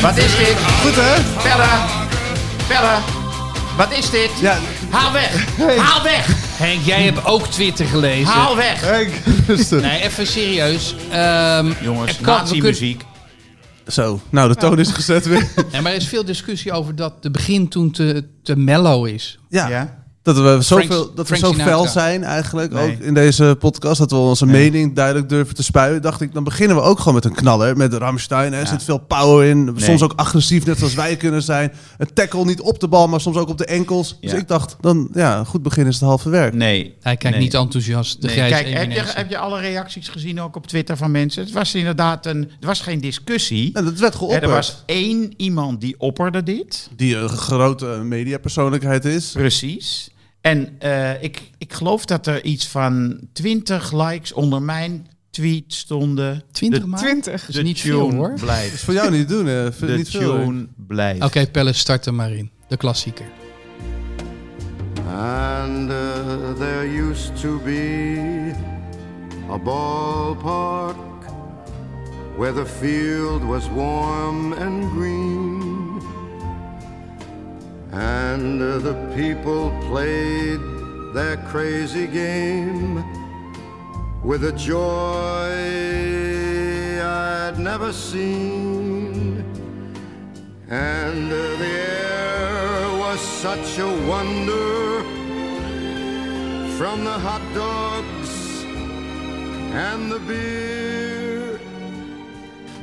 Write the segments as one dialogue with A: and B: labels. A: Wat is dit?
B: Goed hè?
A: Verder! Verder! Wat is dit?
B: Ja,
A: Haal weg! Haal weg!
C: Henk, jij hebt ook Twitter gelezen.
A: Haal weg!
B: Henk, rustig.
C: Nee, even serieus. Ehm,
D: Jongens,
C: er kan- we kunnen-
D: nazi-muziek.
B: Zo, nou de toon is gezet weer.
C: Nee, maar er is veel discussie over dat de begin toen te, te mellow is.
B: Ja.
D: Ja.
B: Dat we zoveel,
C: Frank-
B: dat we
C: Frank
B: zo
C: Sinatra.
B: fel zijn eigenlijk,
D: Nee.
B: ook in deze podcast, dat we onze mening duidelijk durven te spuien. Dacht ik, dan beginnen we ook gewoon met een knaller, met Ramstein. Er zit veel power in, soms ook agressief, net zoals wij kunnen zijn. Een tackle niet op de bal, maar soms ook op de enkels. Dus
D: Ja.
B: ik dacht, dan ja, een goed begin is het halve werk.
D: Nee.
C: Hij kijkt
D: Nee.
C: niet enthousiast. De
D: Nee,
C: grijze
A: Kijk, heb je,
C: eminentie.
A: heb je alle reacties gezien ook op Twitter van mensen? Het was inderdaad een... Het was geen discussie.
B: En dat werd
A: Hè,
B: geopperd.
A: Er was één iemand die opperde dit.
B: Die een grote mediapersoonlijkheid is.
A: Precies. En eh, ik, ik geloof dat er iets van 20 likes onder mijn tweet stonden.
C: 20
A: De-
C: maar?
E: 20.
C: Dat is
A: de
C: niet veel
A: tune
C: hoor.
B: Dat
A: Blijft.
B: is voor jou niet te doen, hè? Vind
D: De
B: niet veel. eh. hè?
D: tune blijft.
C: Oké, Pelle, start er maar in. De klassieker.
F: And uh, there used to be a ballpark where the field was warm and green. And uh, the people played their crazy game with a joy I'd never seen. And uh, the air was such a wonder from the hot dogs and the beer.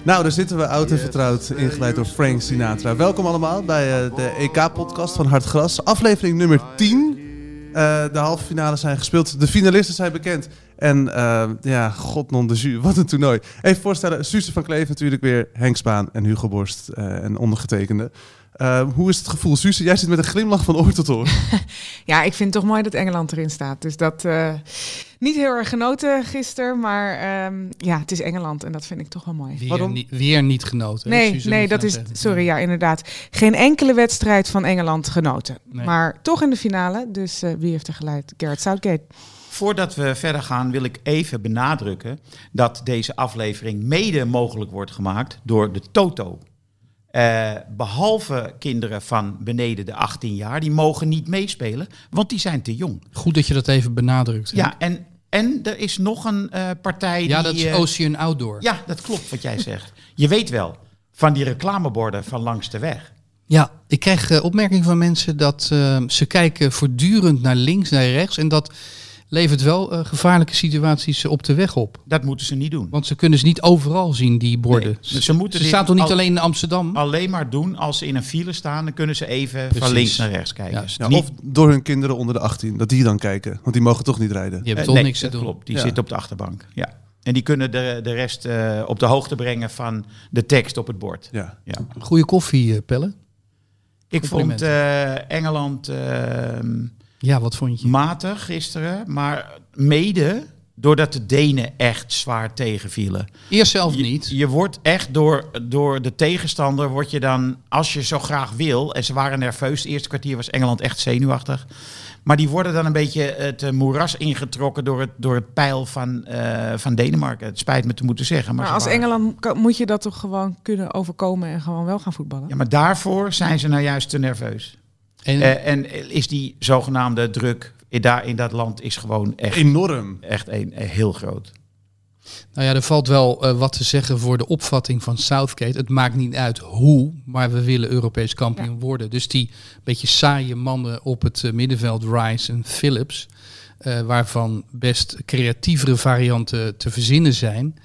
B: Nou, daar zitten we oud en vertrouwd, ingeleid door Frank Sinatra. Welkom allemaal bij eh, de EK-podcast van Hartgras, aflevering nummer 10. Eh, de halve finales zijn gespeeld, de finalisten zijn bekend. En eh, ja, god non de jus, wat een toernooi. Even voorstellen, Suze van Kleef natuurlijk weer, Henk Spaan en Hugo Borst eh, en ondergetekende. Eh, hoe is het gevoel, Suze? Jij zit met een glimlach van oor tot oor.
E: Ja, ik vind het toch mooi dat Engeland erin staat. Dus dat eh, niet heel erg genoten gisteren, maar ehm, ja, het is Engeland en dat vind ik toch wel mooi.
C: Weer,
B: Waarom?
C: niet- weer niet genoten.
E: Nee,
C: Suze
E: nee,
C: moet
E: dat
C: gaan
E: is.
C: zeggen.
E: Sorry, ja, inderdaad. Geen enkele wedstrijd van Engeland genoten.
C: Nee.
E: Maar toch in de finale. Dus eh, wie heeft er geleid? Gerrit Southgate.
A: Voordat we verder gaan wil ik even benadrukken dat deze aflevering mede mogelijk wordt gemaakt door de Toto. Eh, behalve kinderen van beneden de 18 jaar, die mogen niet meespelen, want die zijn te jong.
C: Goed dat je dat even benadrukt. hè?
A: Ja, en, en er is nog een eh, partij
C: Ja,
A: die...
C: dat is
A: eh,
C: Ocean Outdoor.
A: ja, dat klopt wat jij zegt. Je weet wel, van die reclameborden van langs de weg.
C: Ja, ik krijg eh, opmerking van mensen dat eh, ze kijken voortdurend naar links, naar rechts. En dat levert wel eh, gevaarlijke situaties op de weg op.
A: Dat moeten ze niet doen.
C: Want ze kunnen ze niet overal zien, die borden.
A: Nee, dus ze moeten
C: ze
A: dit
C: staan toch niet
A: al-
C: alleen in Amsterdam?
A: Alleen maar doen als ze in een file staan, dan kunnen ze even van
C: Precies.
A: links naar rechts kijken. Nou,
C: Juist.
B: Ja,
A: Niet-
B: of door hun kinderen onder de 18, dat die dan kijken. Want die mogen toch niet rijden.
C: Je hebt
A: Eh,
C: toch
A: nee,
C: niks te
A: dat
C: doen.
A: Klopt, die
B: Ja.
A: zit op de achterbank. Ja. En die kunnen de, de rest eh, op de hoogte brengen van de tekst op het bord.
B: Ja.
A: Ja.
C: Goeie koffie, eh, Pelle.
A: Ik vond eh, Engeland eh,
C: Ja, wat vond je?
A: matig gisteren, maar mede doordat de Denen echt zwaar tegenvielen.
C: Eerst zelf
A: Je-
C: niet.
A: Je, wordt echt door, door de tegenstander, word je dan, als je zo graag wil, en ze waren nerveus, het eerste kwartier was Engeland echt zenuwachtig. Maar die worden dan een beetje het eh, moeras ingetrokken door het, door het pijl van, eh, van Denemarken. Het spijt me te moeten zeggen. Maar,
E: Maar
A: ze
E: als
A: waren-
E: Engeland kan- moet je dat toch gewoon kunnen overkomen en gewoon wel gaan voetballen?
A: Ja, maar daarvoor zijn ze nou juist te nerveus.
C: En
A: Eh, en is die zogenaamde druk in, daar in dat land is gewoon echt,
B: Enorm.
A: echt een, eh, heel groot.
C: Nou ja, er valt wel eh, wat te zeggen voor de opvatting van Southgate. Het maakt niet uit hoe, maar we willen Europees kampioen worden. Dus die beetje saaie mannen op het eh, middenveld, Rice en Phillips, eh, waarvan best creatievere varianten te verzinnen zijn,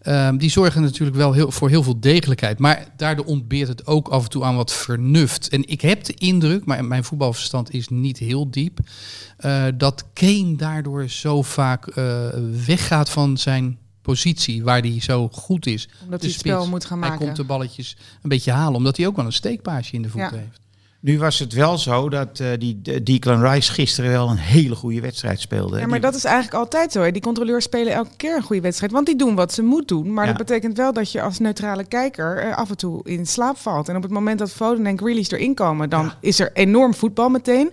C: ehm, die zorgen natuurlijk wel heel, voor heel veel degelijkheid. Maar daardoor ontbeert het ook af en toe aan wat vernuft. En ik heb de indruk, maar mijn voetbalverstand is niet heel diep, eh, dat Kane daardoor zo vaak eh, weggaat van zijn positie waar hij zo goed is.
E: Omdat
C: De
E: hij het spel
C: spits.
E: moet gaan
C: Hij komt
E: maken.
C: de balletjes een beetje halen, omdat hij ook wel een steekpaasje in de voet
E: Ja.
C: heeft.
A: Nu was het wel zo dat eh, die D- Declan Rice gisteren wel een hele goede wedstrijd speelde.
E: Ja, maar
A: Die-
E: dat is eigenlijk altijd zo. Hè. Die controleurs spelen elke keer een goede wedstrijd. Want die doen wat ze moet doen. Maar
A: Ja.
E: dat betekent wel dat je als neutrale kijker eh, af en toe in slaap valt. En op het moment dat Foden en Grealish erin komen, dan is er enorm voetbal meteen.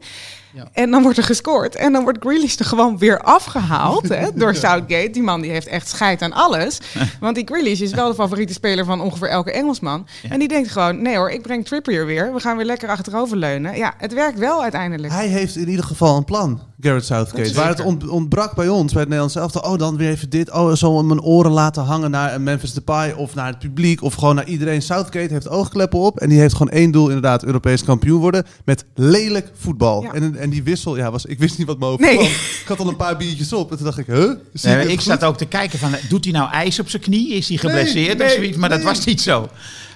C: Ja.
E: En dan wordt er gescoord. En dan wordt Grealish er gewoon weer afgehaald hè, door Southgate. Die man die heeft echt scheid aan alles. Want die Grealish is wel de favoriete speler van ongeveer elke Engelsman. En die denkt gewoon, nee hoor, ik breng Trippier weer. We gaan weer lekker achteroverleunen. Ja, het werkt wel uiteindelijk.
B: Hij heeft in ieder geval een plan, Garrett Southgate. Waar het ont- ontbrak bij ons, bij het Nederlands elftal. Oh, dan weer even dit. Oh, zo mijn oren laten hangen naar een Memphis Depay of naar het publiek of gewoon naar iedereen. Southgate heeft oogkleppen op en die heeft gewoon één doel inderdaad, Europees kampioen worden met lelijk voetbal.
E: Ja.
B: En, en die wissel, ja, was, ik wist niet wat me overkwam.
E: Nee.
B: Ik had al een paar biertjes op en toen dacht ik, huh? Zie
A: Nee,
B: ik
A: maar
B: het
A: ik
B: goed?
A: zat ook te kijken van, doet hij nou ijs op zijn knie? Is hij geblesseerd
B: nee,
A: of zoiets? Maar
B: nee.
A: dat was niet zo.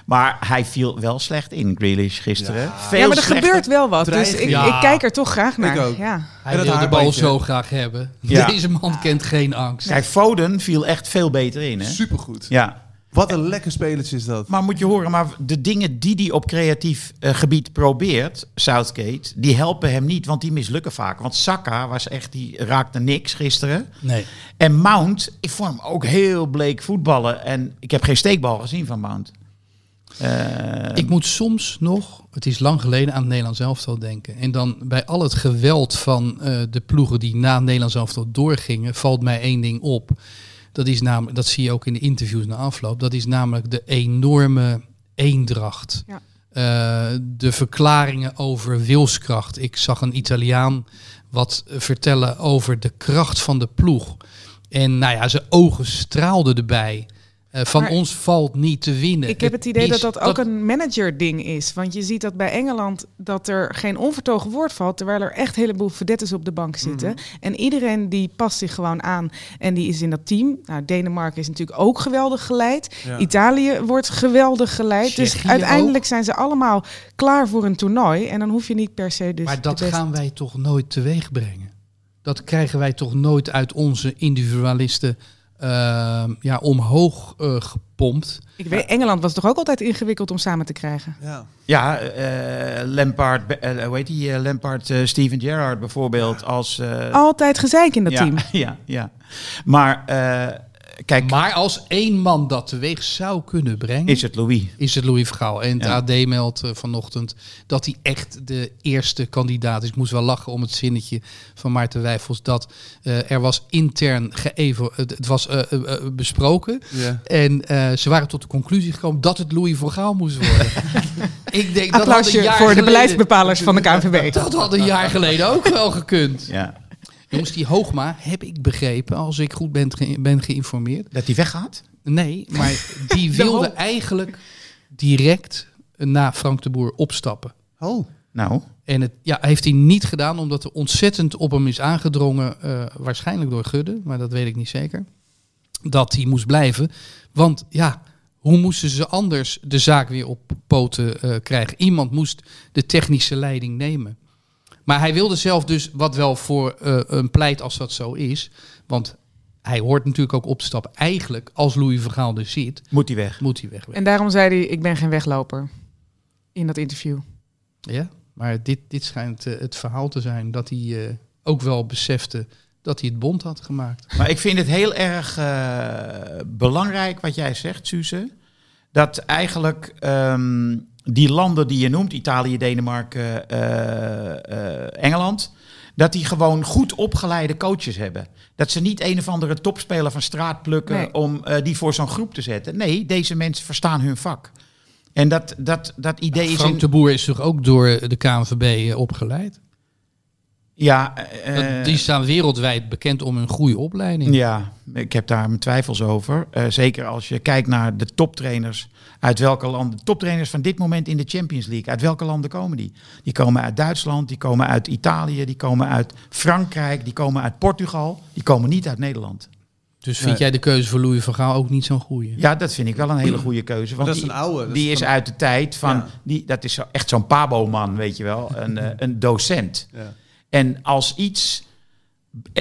A: Maar hij viel wel slecht in, Grealish, gisteren. Veel
E: ja, maar er
A: slechter.
E: gebeurt wel wat. Dus
B: dreiging.
E: ik,
C: Ja.
E: ik kijk er toch graag naar.
B: ook.
E: Ja.
C: Hij
B: En
C: wil
B: dat
C: de bal
B: haarbandje.
C: zo graag hebben.
A: Ja.
C: Deze man kent geen angst.
A: Kijk, Foden viel echt veel beter in, hè?
B: Supergoed.
A: Ja.
B: Wat een lekker spelertje is dat.
A: Maar moet je horen, maar de dingen die hij op creatief eh, gebied probeert, Southgate, die helpen hem niet, want die mislukken vaak. Want Saka was echt, die raakte niks gisteren.
C: Nee.
A: En Mount, ik vond hem ook heel bleek voetballen. En ik heb geen steekbal gezien van Mount. Eh,
C: Ik moet soms nog, het is lang geleden, aan het Nederlands elftal denken. En dan bij al het geweld van eh, de ploegen die na het Nederlands elftal doorgingen, valt mij één ding op. Dat, is namelijk, dat zie je ook in de interviews na afloop. Dat is namelijk de enorme eendracht.
E: Ja.
C: Eh, de verklaringen over wilskracht. Ik zag een Italiaan wat eh, vertellen over de kracht van de ploeg. En nou ja, zijn ogen straalden erbij. Eh, van
E: Maar
C: ons valt niet te winnen.
E: Ik heb het idee dat
C: is-
E: dat ook een manager-ding is. Want je ziet dat bij Engeland dat er geen onvertogen woord valt. Terwijl er echt een heleboel verdettes op de bank zitten. En iedereen die past zich gewoon aan. En die is in dat team. Nou, Denemarken is natuurlijk ook geweldig geleid.
B: Ja.
E: Italië wordt geweldig geleid. dus
C: Tsjechië
E: uiteindelijk zijn ze allemaal klaar voor een toernooi. En dan hoef je niet per se dus.
C: maar dat
E: de beste-
C: gaan wij toch nooit teweeg brengen? Dat krijgen wij toch nooit uit onze individualisten eh, ja, omhoog eh, gepompt?
E: Ik weet, Engeland was toch ook altijd ingewikkeld om samen te krijgen.
B: Ja.
A: ja, eh Lampard, eh, hoe heet die? eh, Lampard, eh, Steven Gerrard bijvoorbeeld als... eh,
E: Altijd gezeik in dat
A: ja,
E: team.
A: Ja, ja. Maar eh, kijk,
C: Maar als één man dat teweeg zou kunnen brengen,
A: is het Louis?
C: is het Louis Vergaal. En het
A: Ja.
C: AD meldt eh, vanochtend dat hij echt de eerste kandidaat is. Ik moest wel lachen om het zinnetje van Maarten Wijfels. Dat eh, er was intern geëvo, het, het was eh, eh, eh, besproken.
B: Ja.
C: En eh, ze waren tot de conclusie gekomen dat het Louis Vergaal moest worden. ik denk dat had een
E: Applausje
C: jaar
E: voor de
C: geleden-
E: beleidsbepalers van de KNVB.
C: Dat had een jaar geleden ook wel gekund.
A: Ja.
C: Jongens, die Hoogma heb ik begrepen, als ik goed ben, ge- ben geïnformeerd.
A: Dat hij weggaat?
C: Nee, maar die wilde
E: Hoog-
C: eigenlijk direct na Frank de Boer opstappen.
B: Oh.
A: Nou,
C: En het ja, heeft hij niet gedaan, omdat er ontzettend op hem is aangedrongen, eh, waarschijnlijk door Gudde, maar dat weet ik niet zeker, dat hij moest blijven. Want ja, hoe moesten ze anders de zaak weer op poten eh, krijgen? Iemand moest de technische leiding nemen. Maar hij wilde zelf dus, wat wel voor eh, een pleit als dat zo is, want hij hoort natuurlijk ook op te stappen. Eigenlijk, als Louis Vergaal er zit,
A: moet hij weg.
C: moet hij wegwerken.
E: En daarom zei hij, ik ben geen wegloper. In dat interview.
C: Ja, maar dit, dit schijnt eh, het verhaal te zijn dat hij eh, ook wel besefte dat hij het bond had gemaakt.
A: Maar ik vind het heel erg eh, belangrijk wat jij zegt, Suze. Dat eigenlijk ehm, die landen die je noemt, Italië, Denemarken, eh, eh, Engeland, dat die gewoon goed opgeleide coaches hebben. Dat ze niet een of andere topspeler van straat plukken
E: Nee.
A: om eh, die voor zo'n groep te zetten. Nee, deze mensen verstaan hun vak. En dat, dat, dat idee is...
C: Frank
A: in-
C: de Boer is toch ook door de KNVB eh, opgeleid?
A: Ja, eh,
C: Dat- die staan wereldwijd bekend om hun goede opleiding.
A: ja, ik heb daar mijn twijfels over. Eh, zeker als je kijkt naar de toptrainers. Uit welke landen? De toptrainers van dit moment in de Champions League. Uit welke landen komen die? Die komen uit Duitsland, die komen uit Italië, die komen uit Frankrijk, die komen uit Portugal. Die komen niet uit Nederland.
C: Dus vind
B: Nee.
C: jij de keuze voor Louis van Gaal ook niet zo'n goede?
A: Ja, dat vind ik wel een hele goede keuze. Want
B: dat is
A: die-
B: een oude, dat
A: die
B: is
A: is
B: van-
A: uit de tijd van...
B: Ja.
A: Die, dat is zo, echt zo'n pabo-man, weet je wel. Een, eh, een docent.
B: Ja.
A: En als iets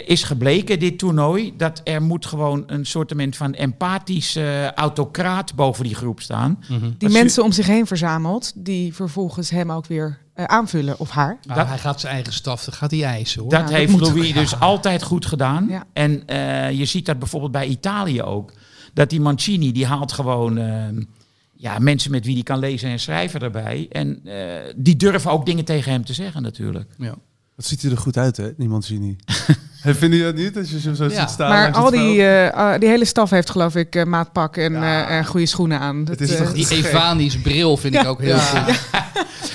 A: is gebleken, dit toernooi... dat er moet gewoon een soortement van empathische eh, autocraat boven die groep staan.
E: Die
A: Als je-
E: mensen om zich heen verzamelt, die vervolgens hem ook weer eh, aanvullen of haar.
C: Ah,
A: Dat-
C: hij gaat zijn eigen staf, dat gaat hij eisen hoor.
A: Dat
E: Ja, dat
A: heeft
E: moet
A: Louis
E: ook, ja.
A: dus altijd goed gedaan.
E: Ja.
A: En eh, je ziet dat bijvoorbeeld bij Italië ook. Dat die Mancini, die haalt gewoon eh, ja, mensen met wie die kan lezen en schrijven erbij. En eh, die durven ook dingen tegen hem te zeggen natuurlijk.
C: ja.
B: Wat ziet hij er goed uit, hè? Niemand ziet niet. Hey, Vinden jullie dat niet, als je hem zo
C: Ja.
B: ziet staan?
E: maar
B: langs het
E: al die,
B: veld?
E: eh, eh, die hele staf heeft geloof ik eh, maatpak en
B: Ja.
E: eh, eh, goede schoenen aan. Dat,
B: is
E: eh,
B: toch-
C: Die Evanisch bril vind ik ook heel goed.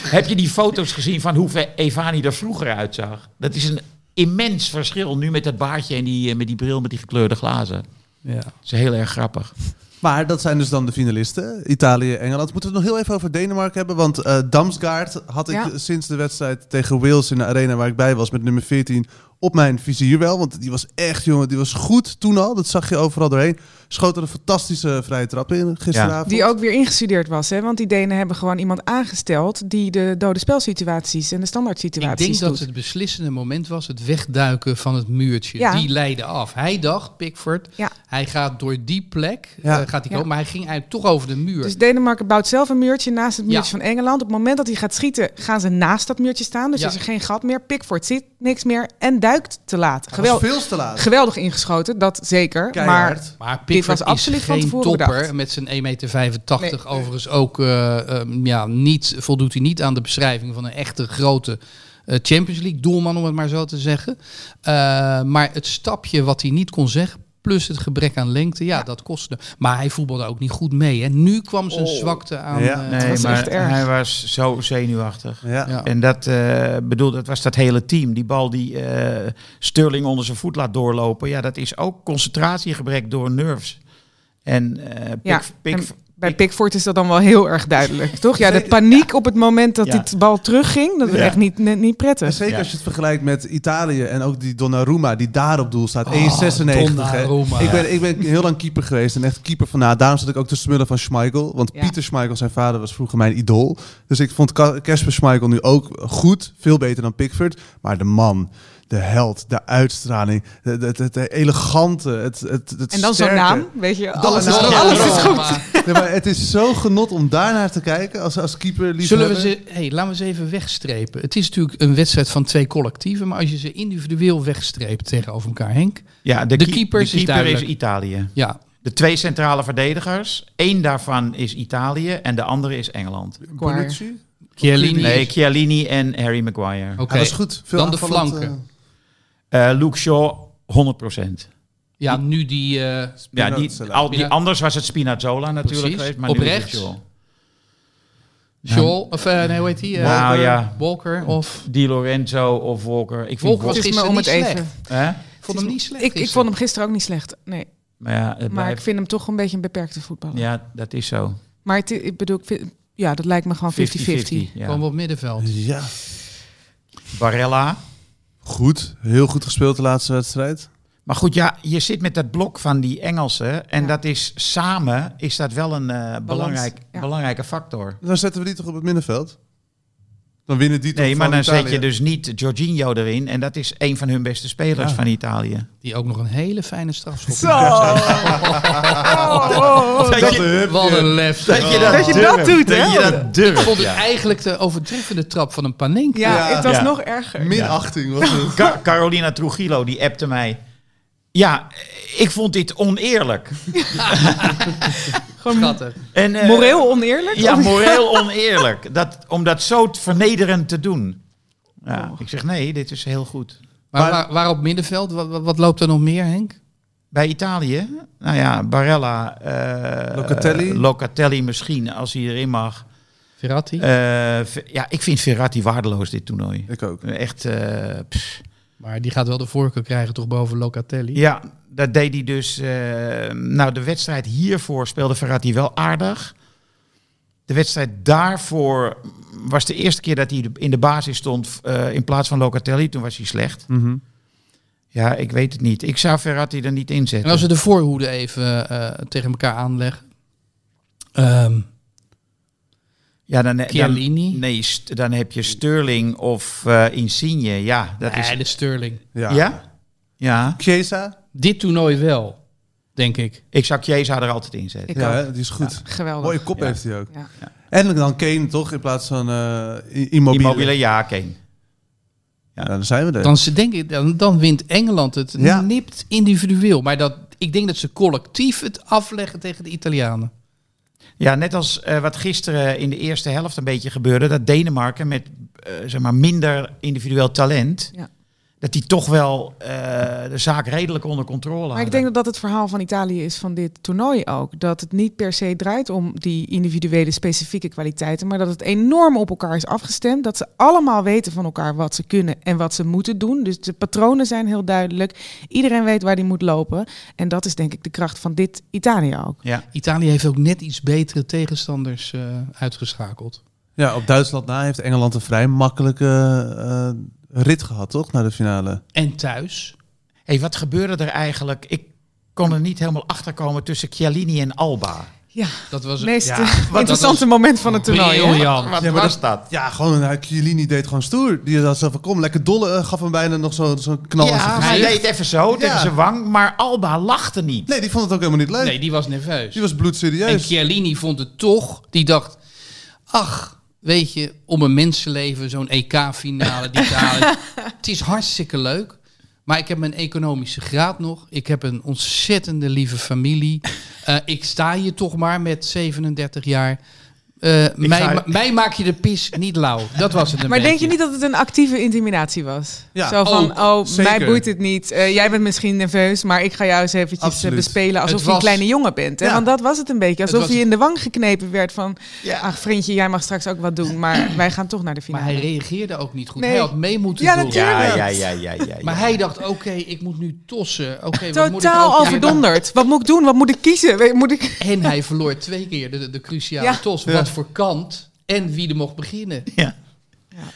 A: Heb je die foto's gezien van hoe ver Evani er vroeger uitzag? Dat is een immens verschil nu met dat baardje en die, eh, met die bril met die gekleurde glazen.
C: Ja.
A: Dat is heel erg grappig.
B: Maar dat zijn dus dan de finalisten. Italië, Engeland. Moeten we het nog heel even over Denemarken hebben? Want eh Damsgaard had ik
E: Ja.
B: sinds de wedstrijd tegen Wales in de arena waar ik bij was met nummer 14 op mijn vizier wel. Want die was echt, jongen, die was goed toen al. Dat zag je overal doorheen. Schoten een fantastische vrije trap in gisteravond.
E: Die ook weer ingestudeerd was, hè? want die Denen hebben gewoon iemand aangesteld die de dode spelsituaties en de standaard
C: Ik
E: situaties
C: denk dat
E: doet.
C: het beslissende moment was het wegduiken van het muurtje.
E: Ja.
C: Die leidde af. Hij dacht, Pickford,
E: Ja.
C: hij gaat door die plek,
B: Ja.
C: eh, gaat hij
E: Ja.
C: komen, maar hij ging eigenlijk toch over de muur.
E: Dus Denemarken bouwt zelf een muurtje naast het muurtje
C: Ja.
E: van Engeland. Op het moment dat hij gaat schieten, gaan ze naast dat muurtje staan. Dus
C: Ja.
E: is er geen gat meer. Pickford zit niks meer en duikt te laat.
B: Dat was
E: Gewel-
B: veel te laat.
E: geweldig ingeschoten, dat zeker. Maar
B: Keihard.
C: maar
E: dit
C: Pickford
E: was absoluut
C: is
E: van
C: geen
E: tevoren
C: topper
E: bedacht.
C: met zijn 1,85 meter.
E: Nee.
C: Overigens ook eh, ehm, ja, niet, voldoet hij niet aan de beschrijving van een echte grote eh, Champions League doelman, om het maar zo te zeggen. Eh, maar het stapje wat hij niet kon zeggen, plus het gebrek aan lengte, ja, dat kostte. Maar hij voetbalde ook niet goed mee. Hè. Nu kwam zijn zwakte aan.
B: Ja.
C: eh,
E: was maar echt erg. hij
A: was zo zenuwachtig.
B: Ja.
C: Ja.
A: En dat, eh, bedoel, dat was dat hele team. Die bal die eh, Sterling onder zijn voet laat doorlopen. Ja, dat is ook concentratiegebrek door nerves. En, eh, Pick-
E: Ja,
A: Pick-
E: en bij Pickford is dat dan wel heel erg duidelijk, toch? Ja, de paniek op het moment dat
A: Ja.
E: dit bal terugging, dat was
A: Ja.
E: echt niet, net niet
B: En
E: prettig.
B: zeker
A: Ja.
B: als je het vergelijkt met Italië en ook die Donnarumma die daar op doel
E: Ah,
B: staat. 1,96. hè.
C: Donnarumma.
B: Ik ben, ik ben heel lang keeper geweest en echt keeper van na. Daarom zat ik ook te smullen van Schmeichel. Want
E: Ja.
B: Pieter Schmeichel, zijn vader, was vroeger mijn idool. Dus ik vond Ka- Kasper Schmeichel nu ook goed. Veel beter dan Pickford. Maar de man, de held, de uitstraling, het, het, het elegante, het, het, het
E: En dan zo'n
B: sterke.
E: naam, weet je, alles,
B: een
E: is,
B: naam.
E: alles is goed.
B: Nee, maar het is zo genot om daarnaar te kijken als, als keeper.
C: Zullen we ze, hey, laten we ze even wegstrepen. Het is natuurlijk een wedstrijd van twee collectieven, maar als je ze individueel wegstreept tegenover elkaar, Henk.
A: ja,
C: de
A: keep-
C: keepers
A: de
C: is
A: keeper is
C: duidelijk.
A: Italië.
C: Ja,
A: De twee centrale verdedigers. Eén daarvan is Italië en de andere is Engeland.
E: Maguire.
B: Bonucci?
C: Chiellini.
A: Nee,
C: is- Oh.
A: Chiellini en Harry Maguire.
C: Oké.
B: Ja, Ah, dat is goed. Veel
C: Dan de
B: aanvallend,
C: flanken.
B: eh,
A: Eh, Luke Shaw, 100%.
C: Ja, nu die. eh,
A: Ja, die,
B: Spinazzola.
A: al, die,
C: Spina-
A: anders was het Spinazzola natuurlijk
C: Precies.
A: geweest. Maar
C: Op
A: nu is het
C: rechts.
A: Shaw.
C: Scholl, of eh, nee, hoe heet die? eh,
A: Nou
C: Walker,
A: ja.
C: Walker of.
A: Di Lorenzo of Walker. Ik vind
C: Walker was
E: Het
A: Walker,
E: is me
C: gisteren
E: om
C: niet
E: het
C: slecht.
E: even.
A: hè?
C: Ik vond hem niet slecht.
E: Ik, ik
C: gisteren.
E: vond hem gisteren ook niet slecht. Nee.
A: Maar ja, het
E: Maar ik
A: blijft-
E: vind hem toch een beetje een beperkte voetballer.
A: ja, dat is zo. 50-50.
E: Maar het, ik bedoel, ik vind- ja, dat lijkt me gewoon 50-50.
A: ja.
C: Kwam op middenveld.
B: eh, Ja,
A: Barella.
B: goed. Heel goed gespeeld de laatste wedstrijd.
A: Maar goed, ja, je zit met dat blok van die Engelsen. En
E: Ja.
A: dat is samen is dat wel een eh, belangrijk,
E: ja.
A: belangrijke factor.
B: Dan zetten we die toch op het middenveld? Dan winnen die toch
A: Nee, maar
B: van
A: dan zet
B: Italië.
A: je dus niet Jorginho erin. En dat is een van hun beste spelers
B: Ja.
A: van Italië.
C: Die ook nog een hele fijne strafschop.
E: Zo! Oh, oh, oh.
A: Dat je
C: Wat een lef. zeg.
E: Dat je dat doet, hè?
A: dat je dat
C: Ik
A: durft.
C: vond het
A: ja.
C: eigenlijk de overtreffende trap van een panink.
E: Ja,
B: Ja.
E: het was
A: Ja.
E: nog erger.
B: Minachting was het.
A: Ca- Carolina Trujillo, die appte mij. Ja, ik vond dit oneerlijk.
E: Gewoon
C: Schattig.
A: En, eh,
E: moreel oneerlijk? Oh,
A: Ja,
E: Of-
A: moreel oneerlijk. Dat, om dat zo t- vernederend te doen. Ja, Ik zeg nee, dit is heel goed.
C: Maar waar, waar op middenveld? Wat, wat- wat loopt er nog meer, Henk?
A: Bij Italië, nou ja, Barella, eh,
B: Locatelli.
A: Locatelli misschien, als hij erin mag.
C: Verratti.
A: Eh, Ver- ja, ik vind Verratti waardeloos dit toernooi.
B: Ik ook.
A: Echt, eh, pff.
C: maar die gaat wel de voorkeur krijgen toch boven Locatelli.
A: ja, dat deed hij dus. eh, nou, de wedstrijd hiervoor speelde Verratti wel aardig. De wedstrijd daarvoor was de eerste keer dat hij de- in de basis stond eh, in plaats van Locatelli. Toen was hij slecht.
B: Mhm.
A: Ja, ik weet het niet. Ik zou Verratti er niet
C: En
A: inzetten.
C: als we de voorhoede even eh, tegen elkaar aanleggen. Ehm
A: ja, dan, dan-
C: Chiellini.
A: nee, st- dan heb je Sterling of eh, Insigne. Ja, dat is...
C: nee, de Sterling.
B: Ja.
A: Ja? Ja.
B: Chiesa,
C: Dit toernooi wel, denk ik.
A: Ik zou Chiesa er altijd in zetten.
E: Ik
B: ja,
E: ook.
B: hè, die is goed.
E: Geweldig.
B: Mooie kop
A: Ja.
B: heeft hij ook.
E: Ja.
A: Ja.
B: En dan Kane toch, in plaats van eh, I- Immobile.
A: Immobile, ja, Kane.
B: Ja, dan zijn we er.
C: Dan, ze- denk ik, dan, dan wint Engeland het
B: Eh. Ja.
C: nipt individueel. Maar dat, ik denk dat ze collectief het afleggen tegen de Italianen.
A: Ja, net als eh, wat gisteren in de eerste helft een beetje gebeurde, dat Denemarken met eh, zeg maar minder individueel talent,
E: Ja.
A: dat die toch wel eh, de zaak redelijk onder controle hadden.
E: Maar ik denk dat dat het verhaal van Italië is van dit toernooi ook. Dat het niet per se draait om die individuele specifieke kwaliteiten, maar dat het enorm op elkaar is afgestemd. Dat ze allemaal weten van elkaar wat ze kunnen en wat ze moeten doen. Dus de patronen zijn heel duidelijk. Iedereen weet waar die moet lopen. En dat is denk ik de kracht van dit Italië ook.
A: Ja,
C: Italië heeft ook net iets betere tegenstanders eh, uitgeschakeld.
B: Ja, op Duitsland na heeft Engeland een vrij makkelijke eh, rit gehad, toch? Naar de finale.
C: En thuis.
A: hey, wat gebeurde er eigenlijk? Ik kon er niet helemaal achter komen tussen Chiellini en Alba.
E: Ja,
C: Dat was
E: het meest
A: ja,
E: eh,
A: wat- dat
E: interessante moment van het toernooi. hè?
C: briljant.
A: Wat
B: Ja, maar
A: was dat?
B: Ja, gewoon, hij- Chiellini deed gewoon stoer. Die had zo van, kom, lekker dolle. eh, gaf hem bijna nog zo'n zo knal aan zijn
A: Ja,
B: gezicht.
A: hij deed even zo tegen
B: Ja.
A: zijn wang, maar Alba lachte niet.
B: Nee, die vond het ook helemaal niet leuk.
C: Nee, die was nerveus.
B: Die was
C: En
B: bloedserieus.
C: Chiellini vond het toch, die dacht, ach, weet je, om een mensenleven, zo'n EK-finale, die te halen. het is hartstikke leuk, maar ik heb mijn economische graad nog. Ik heb een ontzettende lieve familie. Eh, ik sta hier toch maar met 37 jaar. Eh, mij,
A: ga-
C: ma- mij maak je de pis niet lauw. Dat was het een
E: Maar denk je
C: beetje.
E: niet dat het een actieve intimidatie was?
B: Ja,
E: Zo van,
C: ook,
E: oh,
B: zeker.
E: mij boeit het niet. Eh, jij bent misschien nerveus, maar ik ga jou eens eventjes eh,
B: Absoluut.
E: bespelen alsof
C: Het
E: je een
C: was-
E: kleine jongen bent. Hè?
B: Ja.
E: Want dat was het een beetje.
C: Het
E: Alsof
C: was-
E: je in de wang geknepen werd van,
A: Ja.
E: ach vriendje, jij mag straks ook wat doen, maar wij gaan toch naar de
C: Maar
E: finale.
C: hij reageerde ook niet goed.
E: Nee.
C: Hij had mee moeten
E: Ja,
C: doen.
E: natuurlijk.
A: Ja, ja,
E: Tuurlijk.
A: ja, ja, ja. ja.
C: Maar hij dacht, oké, ik moet nu tossen. Oké, wat moet ik
E: Totaal
C: ook-
E: overdonderd. Wat moet ik doen? Wat moet ik kiezen? Weet- Moet ik...
C: En hij verloor twee keer de, de cruciale
E: Ja.
C: tos. Wat voor kant en wie er mocht beginnen.
A: Ja.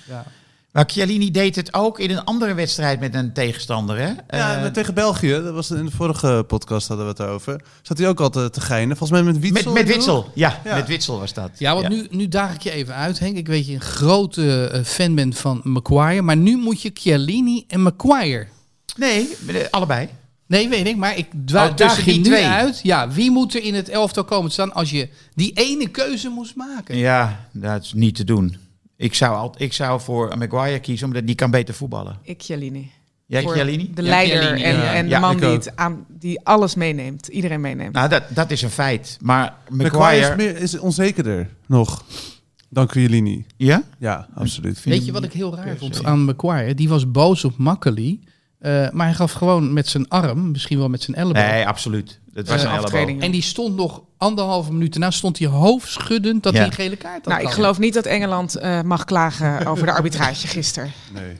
C: Ja.
A: Maar Chiellini deed het ook in een andere wedstrijd met een tegenstander, hè?
B: Ja,
A: Eh,
B: maar tegen België, dat was in de vorige podcast hadden we het over. Zat hij ook al te, te geinen. Volgens mij met
A: Met,
B: Witsel.
A: met Witsel, ja,
B: Ja.
A: Met Witsel was dat.
C: Ja, want Nu, nu daag ik je even uit, Henk. Ik weet je een grote eh, fan bent van Maguire. Maar nu moet je Chiellini en Maguire.
A: Nee, allebei.
C: Nee, weet ik, maar ik dwa- daag
A: Oh, tussen
C: je
A: die
C: nu
A: twee.
C: uit. Ja, wie moet er in het elftal komen te staan als je die ene keuze moest maken?
A: Ja, dat is niet te doen. Ik zou, al, ik zou voor Maguire kiezen, omdat die kan beter voetballen.
E: Ik, Jalini.
A: Jij,
E: Voor
A: Chiellini?
E: De
C: Ja,
E: leider
C: Chiellini,
E: en,
C: ja.
E: en de
A: Ja,
E: man
B: ik
E: die,
B: ook.
E: het aan, die alles meeneemt. Iedereen meeneemt.
A: Nou, dat, dat is een feit. Maar Maguire...
B: Maguire is, meer, is onzekerder nog dan Chiellini.
A: Ja?
B: Ja, absoluut.
C: Weet je wat ik heel raar vond aan Maguire? Die was boos op Makkeli. eh, maar hij gaf gewoon met zijn arm, misschien wel met zijn elleboog,
A: Nee, absoluut. Dat was
C: Eh,
A: een elleboog.
E: aftreding.
C: En die stond nog anderhalve minuut daarna stond hij hoofdschuddend dat
A: Ja.
C: hij een gele kaart had.
E: Nou, ik
C: gehad.
E: geloof niet dat Engeland eh, mag klagen over de arbitrage gisteren.
B: Nee.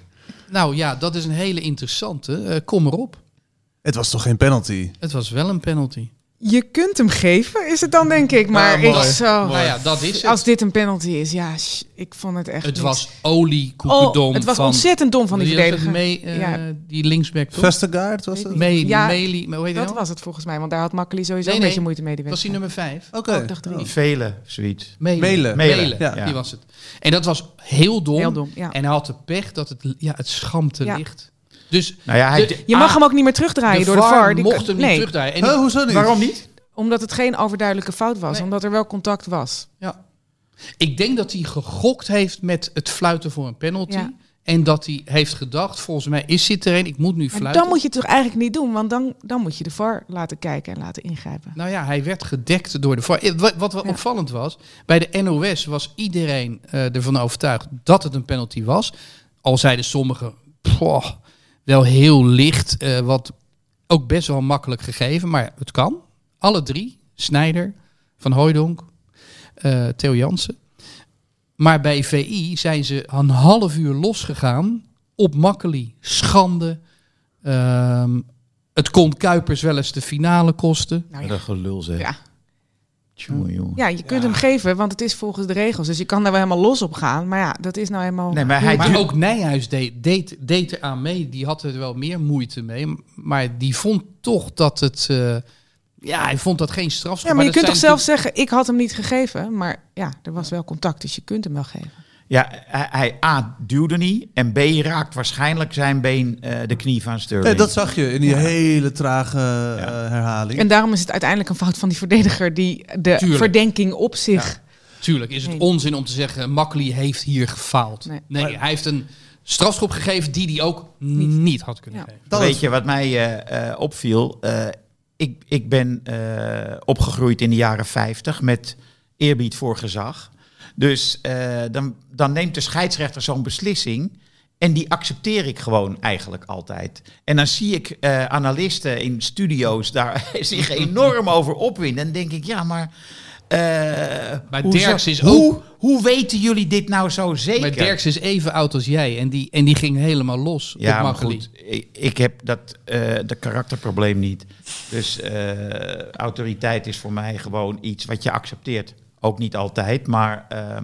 C: Nou ja, dat is een hele interessante. Eh, kom erop.
B: Het was toch geen penalty?
C: Het was wel een penalty.
E: Je kunt hem geven, is het dan denk ik. Maar
B: Ja, mooi.
E: ik zo...
C: Nou ja, dat is het.
E: Als dit een penalty is, ja, sh- ik vond het echt
C: Het
E: niet.
C: was olie koekendom
E: oh, het was
C: van,
E: ontzettend dom van die
C: Wie was het?
E: verdediger.
C: Mee, eh,
E: Ja.
C: Die linksback toch?
B: Vestergaard was het?
C: Mee,
E: Ja,
C: Meli, hoe heet hij
E: Dat
C: nou?
E: was het volgens mij, want daar had Makkeli sowieso
C: Nee,
E: een
C: nee.
E: beetje moeite mee. Die
C: Was hij
E: wedstrijd.
C: nummer vijf?
B: Oké.
E: Oh, ik dacht drie.
A: Vele, zoiets.
C: Melen.
B: Melen.
A: Melen,
C: Ja.
A: ja.
C: die was het. En dat was heel dom.
E: Heel dom, ja.
C: En hij had de pech dat het, ja, het schampte
E: Ja.
C: licht. Dus
A: Nou ja, hij...
C: de-
E: Je mag
C: ah,
E: hem ook niet meer terugdraaien
C: de
E: door de VAR. Die
C: mocht
E: kan-
C: hem niet
E: nee,
C: terugdraaien. En
B: Huh,
C: die-
B: hoezo niet?
A: waarom niet?
E: omdat het geen overduidelijke fout was.
C: Nee.
E: Omdat er wel contact was.
C: Ja. Ik denk dat hij gegokt heeft met het fluiten voor een penalty.
E: Ja.
C: En dat hij heeft gedacht, volgens mij is dit er een, ik moet nu
E: Maar
C: fluiten.
E: dan moet je het toch eigenlijk niet doen, want dan, dan moet je de VAR laten kijken en laten ingrijpen.
C: Nou ja, hij werd gedekt door de VAR. Eh, Wat, wat wel
E: Ja.
C: opvallend was, bij de NOS was iedereen eh, ervan overtuigd dat het een penalty was. Al zeiden sommigen, "Pwah, wel heel licht, eh, wat ook best wel makkelijk gegeven, maar het kan. Alle drie, Snijder, Van Hooijdonk, eh, Theo Jansen. Maar bij VI zijn ze een half uur losgegaan op Makkeli. Schande. Ehm, het kon Kuipers wel eens de finale kosten.
E: Nou
A: Wat
E: ja.
A: een gelul zeg.
E: Ja.
A: Tjonge, jonge.
E: ja, je kunt hem geven, want het is volgens de regels. Dus je kan daar wel helemaal los op gaan. Maar ja, dat is nou helemaal...
A: Nee, maar hij
C: maar
A: duwt-
C: ook Nijhuis deed, deed, deed eraan mee. Die had er wel meer moeite mee. Maar die vond toch dat het... eh, ja, hij vond dat geen strafschop.
E: ja, maar je
C: dat
E: kunt toch
C: zijn
E: zelf zeggen, ik had hem niet gegeven. Maar ja, er was wel contact, dus je kunt hem wel geven.
A: Ja, hij, hij A duwde niet en B raakt waarschijnlijk zijn been eh, de knie van Sterling.
B: Nee, dat zag je in die hele trage eh,
A: Ja.
B: herhaling.
E: En daarom is het uiteindelijk een fout van die verdediger... die de
C: Tuurlijk.
E: verdenking op zich...
C: Tuurlijk is het
E: Nee.
C: onzin om te zeggen, Makkeli heeft hier gefaald.
E: Nee.
C: Nee, hij heeft een strafschop gegeven die hij ook niet, had kunnen
E: Ja.
C: geven.
B: Dat
A: Weet
B: is-
A: je wat mij eh, eh, opviel? Eh, ik, ik ben eh, opgegroeid in de jaren 50 met eerbied voor gezag. Dus eh, dan, dan neemt de scheidsrechter zo'n beslissing. En die accepteer ik gewoon eigenlijk altijd. En dan zie ik eh, analisten in studio's daar zich enorm over opwinden. En denk ik, ja, maar. eh, hoezo-
C: Derks is
A: hoe,
C: ook-
A: hoe weten jullie dit nou zo zeker?
C: Maar Derks is even oud als jij en die, en die ging helemaal los
A: Ja,
C: op
A: maar
C: Makkeli.
A: goed, ik, ik heb dat, eh dat karakterprobleem niet. Dus eh, autoriteit is voor mij gewoon iets wat je accepteert. Ook niet altijd, maar eh,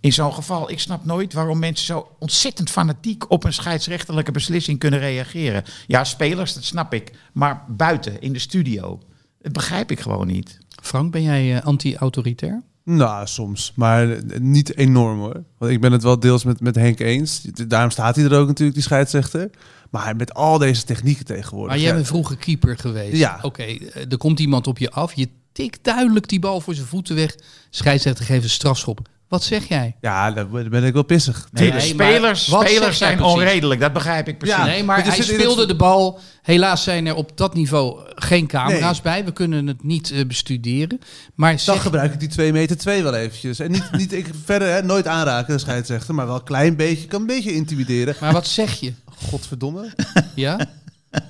A: in zo'n geval, ik snap nooit waarom mensen zo ontzettend fanatiek op een scheidsrechterlijke beslissing kunnen reageren. Ja, spelers, dat snap ik, maar buiten, in de studio, dat begrijp ik gewoon niet.
C: Frank, ben jij eh, anti-autoritair?
B: Nou, soms. Maar eh, niet enorm hoor. Want ik ben het wel deels met, met Henk eens. Daarom staat hij er ook natuurlijk, die scheidsrechter. Maar met al deze technieken tegenwoordig.
C: Maar jij
B: ja.
C: bent vroeger keeper geweest.
B: Ja.
C: Oké, eh, er komt iemand op je af, je tikt duidelijk die bal voor zijn voeten weg. Scheidsrechter geeft een strafschop. Wat zeg jij?
B: Ja, dan ben- dan ben ik wel pissig.
A: Nee,
C: maar
A: spelers
C: wat
A: spelers
C: zeg jij
A: zijn
C: precies?
A: onredelijk, dat begrijp ik precies.
B: Ja,
C: nee, maar
B: want je
C: hij
B: zit in
C: speelde
B: het-
C: de bal. Helaas zijn er op dat niveau geen camera's
B: Nee.
C: bij. We kunnen het niet eh, bestuderen. Maar
B: Dan
C: zeg,
B: gebruik ik die 2 meter 2 wel eventjes. En niet, niet ik, verder hè, nooit aanraken, de scheidsrechter. Maar wel een klein beetje. Kan een beetje intimideren.
C: maar wat zeg je?
B: Godverdomme.
C: Ja?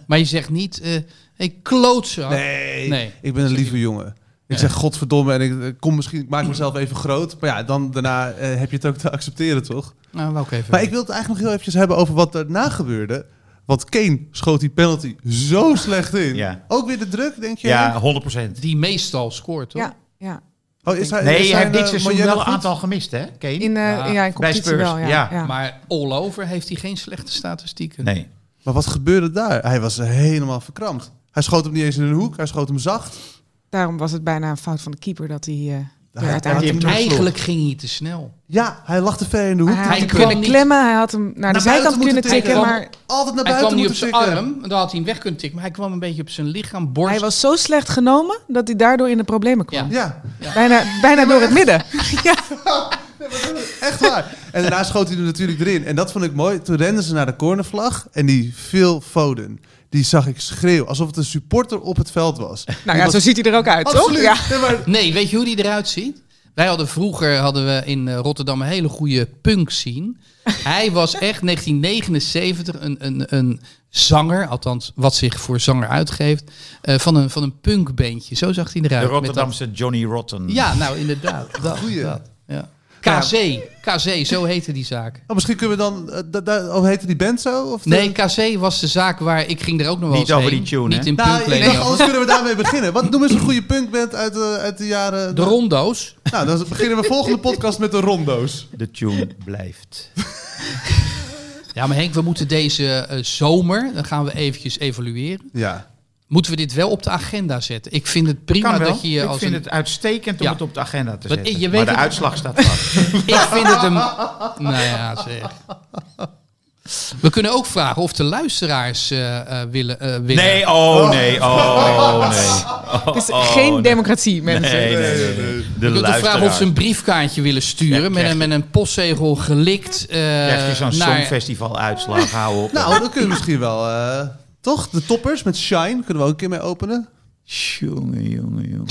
C: Maar je zegt niet, eh hey, klootzak.
B: Nee,
C: Nee.
B: ik ben een lieve jongen. Ik zeg godverdomme en ik eh, kom misschien, ik maak mezelf even groot. Maar ja, dan daarna eh, heb je het ook te accepteren, toch?
C: Nou, wou ik even
B: Maar ik wil het eigenlijk nog heel eventjes hebben over wat daarna gebeurde. Want Kane schoot die penalty zo slecht in.
A: Ja.
B: Ook weer de druk, denk je?
A: Ja, 100%.
C: Die meestal scoort, toch?
E: Ja, ja.
B: Oh, is hij, is
A: Nee, hij
B: zijn,
A: heeft dit
B: eh,
A: seizoen
B: Moyenne
A: wel een
B: goed?
A: aantal gemist, hè, Kane?
E: In, eh,
C: Ja,
E: ja, in competitie
A: Spurs,
E: wel, ja.
A: ja.
E: ja.
C: Maar all over heeft hij geen slechte statistieken.
A: Nee.
B: Maar wat gebeurde daar? Hij was helemaal verkrampt. Hij schoot hem niet eens in een hoek, hij schoot hem zacht.
E: Daarom was het bijna een fout van de keeper dat hij eh, er
B: hij
E: uiteindelijk...
B: had hem
C: Eigenlijk ging hij te snel.
B: Ja, hij lag te ver in de hoek.
E: Hij had
C: Hij
E: hem
C: kwam
E: kunnen
C: niet-
E: klemmen, hij had hem naar de zijkant
B: buiten
E: kunnen
B: moeten
E: tikken,
C: tikken.
E: maar
B: Altijd naar
C: Hij
B: buiten
C: kwam niet op
B: moeten
C: zijn
B: tikken.
C: arm, dan had hij hem weg kunnen tikken. Maar hij kwam een beetje op zijn lichaam,
E: hij
C: borst.
E: was zo slecht genomen dat hij daardoor in de problemen kwam.
B: Ja,
E: Bijna, bijna door het midden. Nou
B: echt waar. En daarna schoot hij er natuurlijk erin. En dat vond ik mooi. Toen renden ze naar de cornervlag en die Phil Foden, die zag ik schreeuwen. Alsof het een supporter op het veld was.
E: Nou ja, zo ziet hij er ook uit,
B: Absoluut.
E: toch? Ja.
B: Nee, maar
C: Nee, weet je hoe die eruit ziet? Wij hadden vroeger hadden we in eh, Rotterdam een hele goede punk scene. Hij was echt 1979 een, een, een zanger, althans wat zich voor zanger uitgeeft, eh, van, een, van een punkbandje. Zo zag hij eruit.
A: De
C: met dat-
A: Rotterdamse Johnny Rotten.
C: Ja, nou inderdaad. Dat,
B: Goeie.
C: dat, ja. KC, KC, zo heette die zaak.
B: Oh, misschien kunnen we dan... eh, da- da- oh, heette die band zo? Of de-
C: Nee, KC was de zaak waar ik ging er ook nog wel
A: Niet
C: eens
A: over
C: heen.
A: die tune,
C: Niet
A: hè?
C: in
B: Nou, ik
C: punkleding.
B: dacht, anders kunnen we daarmee beginnen. Wat noemen ze een goede punkband uit, de- uit de jaren...
C: de rondo's.
B: Nou, dan beginnen we volgende podcast met de rondo's.
A: De tune blijft.
C: Ja, maar Henk, we moeten deze eh, zomer, dan gaan we eventjes evalueren.
B: Ja.
C: Moeten we dit wel op de agenda zetten? Ik vind het prima
A: Kan wel.
C: dat je je
A: ik
C: als
A: vind
C: een...
A: het uitstekend om
C: Ja.
A: het op de agenda te
C: Want
A: zetten.
C: je weet
A: maar de
C: het-
A: uitslag staat vast.
C: Ik vind het een... nou ja, zeg. We kunnen ook vragen of de luisteraars eh, eh, willen, eh, willen...
A: nee, oh nee, oh nee.
E: Het is geen democratie, mensen.
A: Nee, nee, nee, nee. De
C: Je kunt ook vragen of ze
A: luisteraar.
C: een briefkaartje willen sturen
A: Ja,
C: met,
A: krijg
C: een, met een postzegel gelikt. eh
A: Krijg je zo'n
C: naar-
A: songfestival uitslag, hou op.
B: Nou, dan kunnen we misschien wel... eh, toch? De toppers met Shine kunnen we ook een keer mee openen.
A: Jongen, jongen, jongen.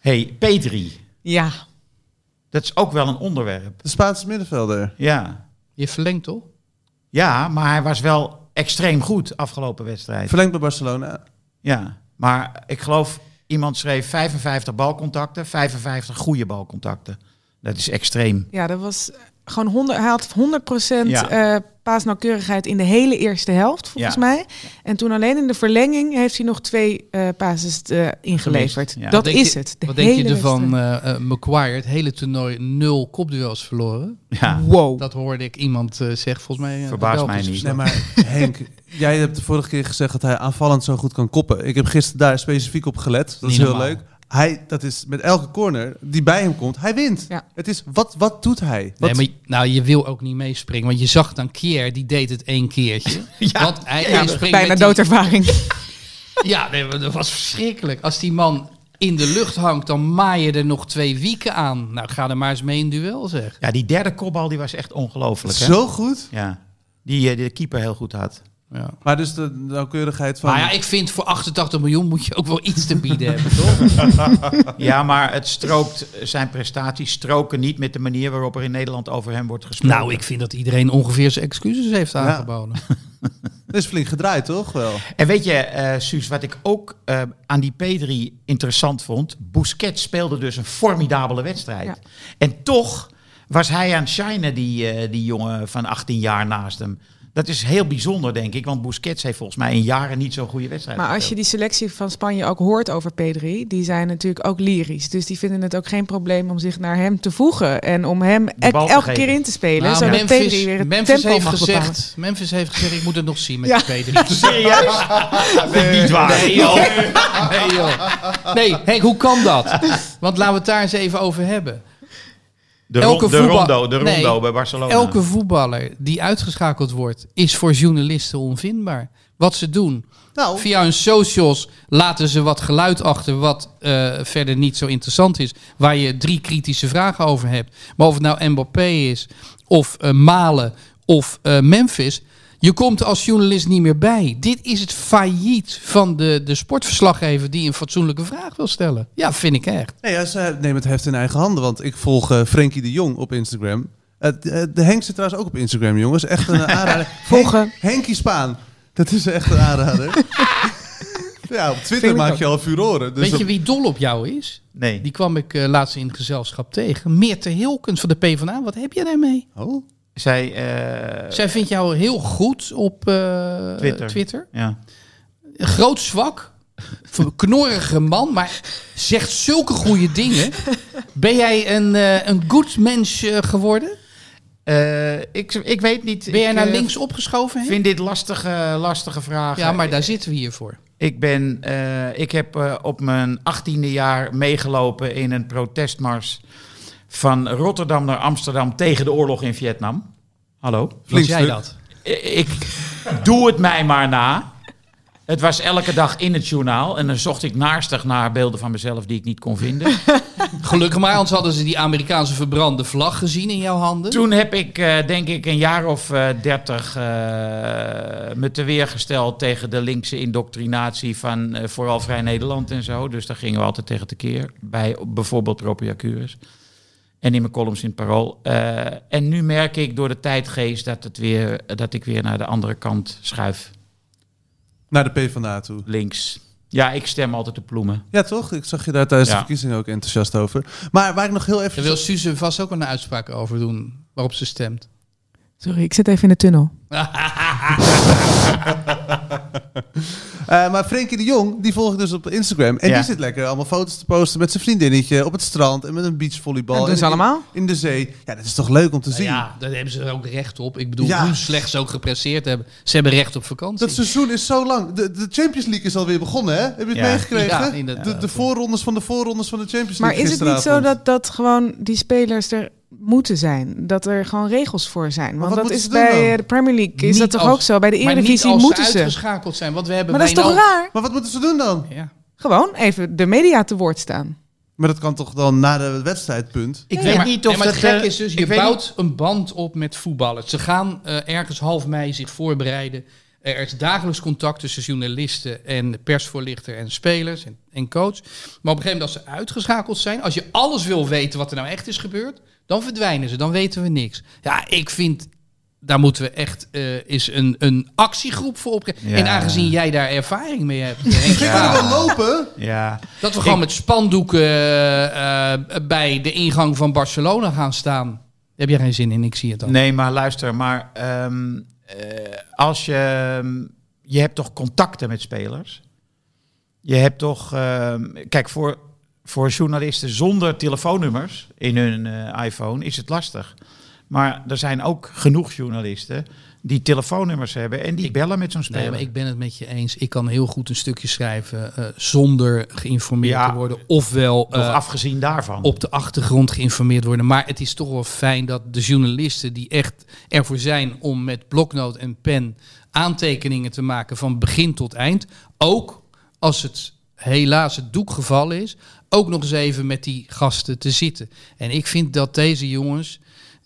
A: hey, Petri.
E: Ja,
A: Dat is ook wel een onderwerp.
B: De Spaanse middenvelder.
A: Ja.
C: Je verlengt toch?
A: ja, maar hij was wel extreem goed afgelopen wedstrijd.
B: Verlengd bij Barcelona.
A: Ja, maar ik geloof iemand schreef 55 balcontacten, 55 goede balcontacten. Dat is extreem.
E: Ja, dat was eh, gewoon 100, hij had 100
A: Ja.
E: eh, paasnauwkeurigheid in de hele eerste helft, volgens
A: Ja.
E: mij. En toen alleen in de verlenging heeft hij nog twee eh pases eh, ingeleverd.
A: Gemist, ja.
E: Dat
C: Wat denk
E: is
C: je-
E: het. De
C: Wat denk je
E: hele
C: ervan,
E: wedstrijd.
C: eh eh, Maguire, het hele toernooi nul kopduels verloren?
A: Ja.
E: Wow.
C: Dat hoorde ik iemand eh zeggen, volgens mij. eh, de
A: Verbaast mij
C: Belgische
A: niet.
B: Nee,
C: verslag.
B: maar Henk, jij hebt de vorige keer gezegd dat hij aanvallend zo goed kan koppen. Ik heb gisteren daar specifiek op gelet. Dat is
C: Niet
B: heel
C: normaal.
B: leuk. Hij, dat is met elke corner die bij hem komt, hij wint.
E: Ja.
B: Het is, wat, wat doet hij? Wat,
C: Nee, maar, je- nou, je wil ook niet meespringen. Want je zag dan Kier, die deed het één keertje. Want hij, hij springt
E: Bijna
C: met die-
E: doodervaring.
C: Ja, nee, maar dat was verschrikkelijk. Als die man in de lucht hangt, dan maai je er nog twee wieken aan. Nou, ga er maar eens mee in duel, zeg.
A: ja, die derde kopbal die was echt ongelooflijk. hè?
B: zo goed.
A: Ja, die eh, de keeper heel goed had.
C: Ja.
B: Maar dus de nauwkeurigheid van...
C: Maar ja, ik vind voor 88 miljoen moet je ook wel iets te bieden hebben, toch?
A: Ja, maar het strookt, zijn prestaties stroken niet met de manier waarop er in Nederland over hem wordt gesproken.
C: Nou, ik vind dat iedereen ongeveer zijn excuses heeft aangeboden.
B: Dat is flink gedraaid, toch? Wel.
A: En weet je, eh Suus, wat ik ook eh, aan die P3 interessant vond. Busquets speelde dus een formidabele wedstrijd.
E: Ja.
A: En toch was hij aan shinen, die, eh, die jongen van 18 jaar naast hem. Dat is heel bijzonder, denk ik. Want Busquets heeft volgens mij in jaren niet zo'n goede wedstrijd
E: Maar als je
A: gespeeld.
E: die selectie van Spanje ook hoort over P3, die zijn natuurlijk ook lyrisch. Dus die vinden het ook geen probleem om zich naar hem te voegen. En om hem
A: De bal
E: elk-
A: te
E: elke
A: geven.
E: keer in te spelen.
C: Nou,
E: zodat P3
C: Memphis,
E: weer het
C: Memphis,
E: tempo
C: heeft
E: mag bepalen.
C: gezegd, Memphis heeft gezegd, ik moet het nog zien met
E: Ja.
C: die P3.
A: Serieus? Niet waar.
C: Nee joh. nee joh. Nee, Henk, hoe kan dat? Want laten we het daar eens even over hebben.
A: De,
C: Elke
A: ron- de
C: voetbal-
A: rondo, de rondo
C: Nee.
A: bij Barcelona.
C: Elke voetballer die uitgeschakeld wordt, is voor journalisten onvindbaar. Wat ze doen,
B: Nou,
C: via hun socials laten ze wat geluid achter wat eh, verder niet zo interessant is. Waar je drie kritische vragen over hebt. Maar of het nou Mbappé is, of eh, Malen, of eh, Memphis. Je komt als journalist niet meer bij. Dit is het failliet van de, de sportverslaggever die een fatsoenlijke vraag wil stellen. Ja, vind ik echt.
B: nee, ja, ze nemen het heft in eigen handen. Want ik volg eh Frenkie de Jong op Instagram. Eh, de, de Henk zit trouwens ook op Instagram, jongens. Echt een eh, aanrader.
E: Volgen.
B: Henk- Henkie Spaan. Dat is echt een aanrader. ja, op Twitter
E: ik
B: maak
E: ook.
B: je al furoren. Dus
C: Weet je
B: op-
C: wie dol op jou is?
A: Nee.
C: Die kwam ik eh, laatst in het gezelschap tegen. Meerte Hilkens van de PvdA. Wat heb jij daarmee?
B: Oh.
A: Zij, eh,
C: Zij vindt jou heel goed op eh,
A: Twitter.
C: Twitter.
A: ja.
C: Groot zwak. Een Knorrige man, maar zegt zulke goede dingen. Ben jij een, eh, een goed mens eh, geworden?
A: Eh, ik, ik weet niet.
C: Ben jij
A: ik,
C: naar
A: eh,
C: links opgeschoven? Henk?
A: Ik vind eh, dit lastige, lastige vragen.
C: Ja, maar daar zitten we hier voor.
A: Ik, ben, eh, ik heb eh, op mijn 18e jaar meegelopen in een protestmars van Rotterdam naar Amsterdam tegen de oorlog in Vietnam. Hallo.
C: Was
B: Flink
C: jij
B: stuk.
C: dat?
A: I- Ik doe het mij maar na. Het was elke dag in het journaal en dan zocht ik naarstig naar beelden van mezelf die ik niet kon vinden.
C: Gelukkig maar, anders hadden ze die Amerikaanse verbrande vlag gezien in jouw handen.
A: Toen heb ik, eh, denk ik, een jaar of eh, dertig me teweergesteld tegen de linkse indoctrinatie van eh, vooral Vrij Nederland en zo. Dus daar gingen we altijd tegen tekeer. Bij bijvoorbeeld Propiacurus. En in mijn columns in het Parool. Eh, en nu merk ik door de tijdgeest dat, het weer, dat ik weer naar de andere kant schuif.
B: Naar de PvdA toe.
A: Links. Ja, ik stem altijd op ploemen.
B: Ja, toch? Ik zag je daar tijdens
A: Ja.
B: de verkiezingen ook enthousiast over. Maar waar ik nog heel
C: Daar
B: even...
C: wil Suze vast ook wel een uitspraak over doen, waarop ze stemt.
E: Sorry, ik zit even in de tunnel.
B: Eh, maar Frenkie de Jong, die volg ik dus op Instagram. En
A: Ja.
B: die zit lekker allemaal foto's te posten met zijn vriendinnetje op het strand en met een beachvolleybal.
E: dat doen ze
B: en in-
E: allemaal.
B: In de zee. Ja, dat is toch leuk om te zien?
C: Nou ja, daar hebben ze er ook recht op. Ik bedoel,
B: Ja.
C: hoe slecht ze ook gepresseerd hebben. Ze hebben recht op vakantie.
B: Dat seizoen is zo lang. De, de Champions League is alweer begonnen, hè? Heb je het
A: Ja.
C: Ja,
B: meegekregen?
C: inderdaad.
B: de, de voorrondes van de voorrondes van de Champions
E: Maar
B: League
E: is het niet zo
B: gisteravond.
E: dat, dat gewoon die spelers er moeten zijn? Dat er gewoon regels voor zijn?
B: wat
E: Want dat
B: moeten
E: is
B: ze doen
E: bij
B: dan?
E: eh, de Premier League is
C: Niet
E: dat toch
C: als-
E: ook zo? Bij de
C: maar niet
E: Eredivisie
C: als
E: moeten
C: ze
E: ze.
C: uitgeschakeld zijn. Want we hebben
E: Maar dat is toch
C: Wijnaldum-
E: raar?
B: Maar wat moeten ze doen dan?
C: Ja.
E: Gewoon even de media te woord staan.
B: Maar dat kan toch dan na de wedstrijdpunt?
A: Ik
C: Ja,
A: weet
C: maar-
A: niet
C: nee,
A: of
C: maar
A: dat...
C: het gek
A: eh,
C: is dus,
A: ik
C: je
A: weet
C: bouwt een band op met voetballers. Ze gaan eh, ergens half mei zich voorbereiden. Eh, Er is dagelijks contact tussen journalisten en persvoorlichter en spelers en, en coach. Maar op een gegeven moment als ze uitgeschakeld zijn, als je alles wil weten wat er nou echt is gebeurd, dan verdwijnen ze, dan weten we niks. Ja, ik vind daar moeten we echt eh, eens een, een actiegroep voor opkrijgen.
A: Ja.
C: En aangezien jij daar ervaring mee hebt, Henk,
B: Ik
A: Ja.
B: wil er wel lopen.
A: Ja.
C: dat we gewoon
A: Ik-
C: met spandoeken eh, eh, bij de ingang van Barcelona gaan staan. Daar heb jij geen zin in, ik zie het al.
A: Nee, maar luister, maar ehm, eh, als je. ehm, Je hebt toch contacten met spelers? Je hebt toch. ehm, kijk, voor, voor journalisten zonder telefoonnummers in hun eh, iPhone is het lastig. Maar er zijn ook genoeg journalisten die telefoonnummers hebben en die bellen met zo'n
C: Nee,
A: speler.
C: maar ik ben het met je eens. Ik kan heel goed een stukje schrijven eh, zonder geïnformeerd
A: Ja.
C: te worden. Ofwel
A: Nog
C: eh,
A: afgezien daarvan.
C: op de achtergrond geïnformeerd worden. Maar het is toch wel fijn dat de journalisten die echt ervoor zijn om met bloknoot en pen aantekeningen te maken van begin tot eind, ook als het helaas het doek gevallen is, ook nog eens even met die gasten te zitten. En ik vind dat deze jongens,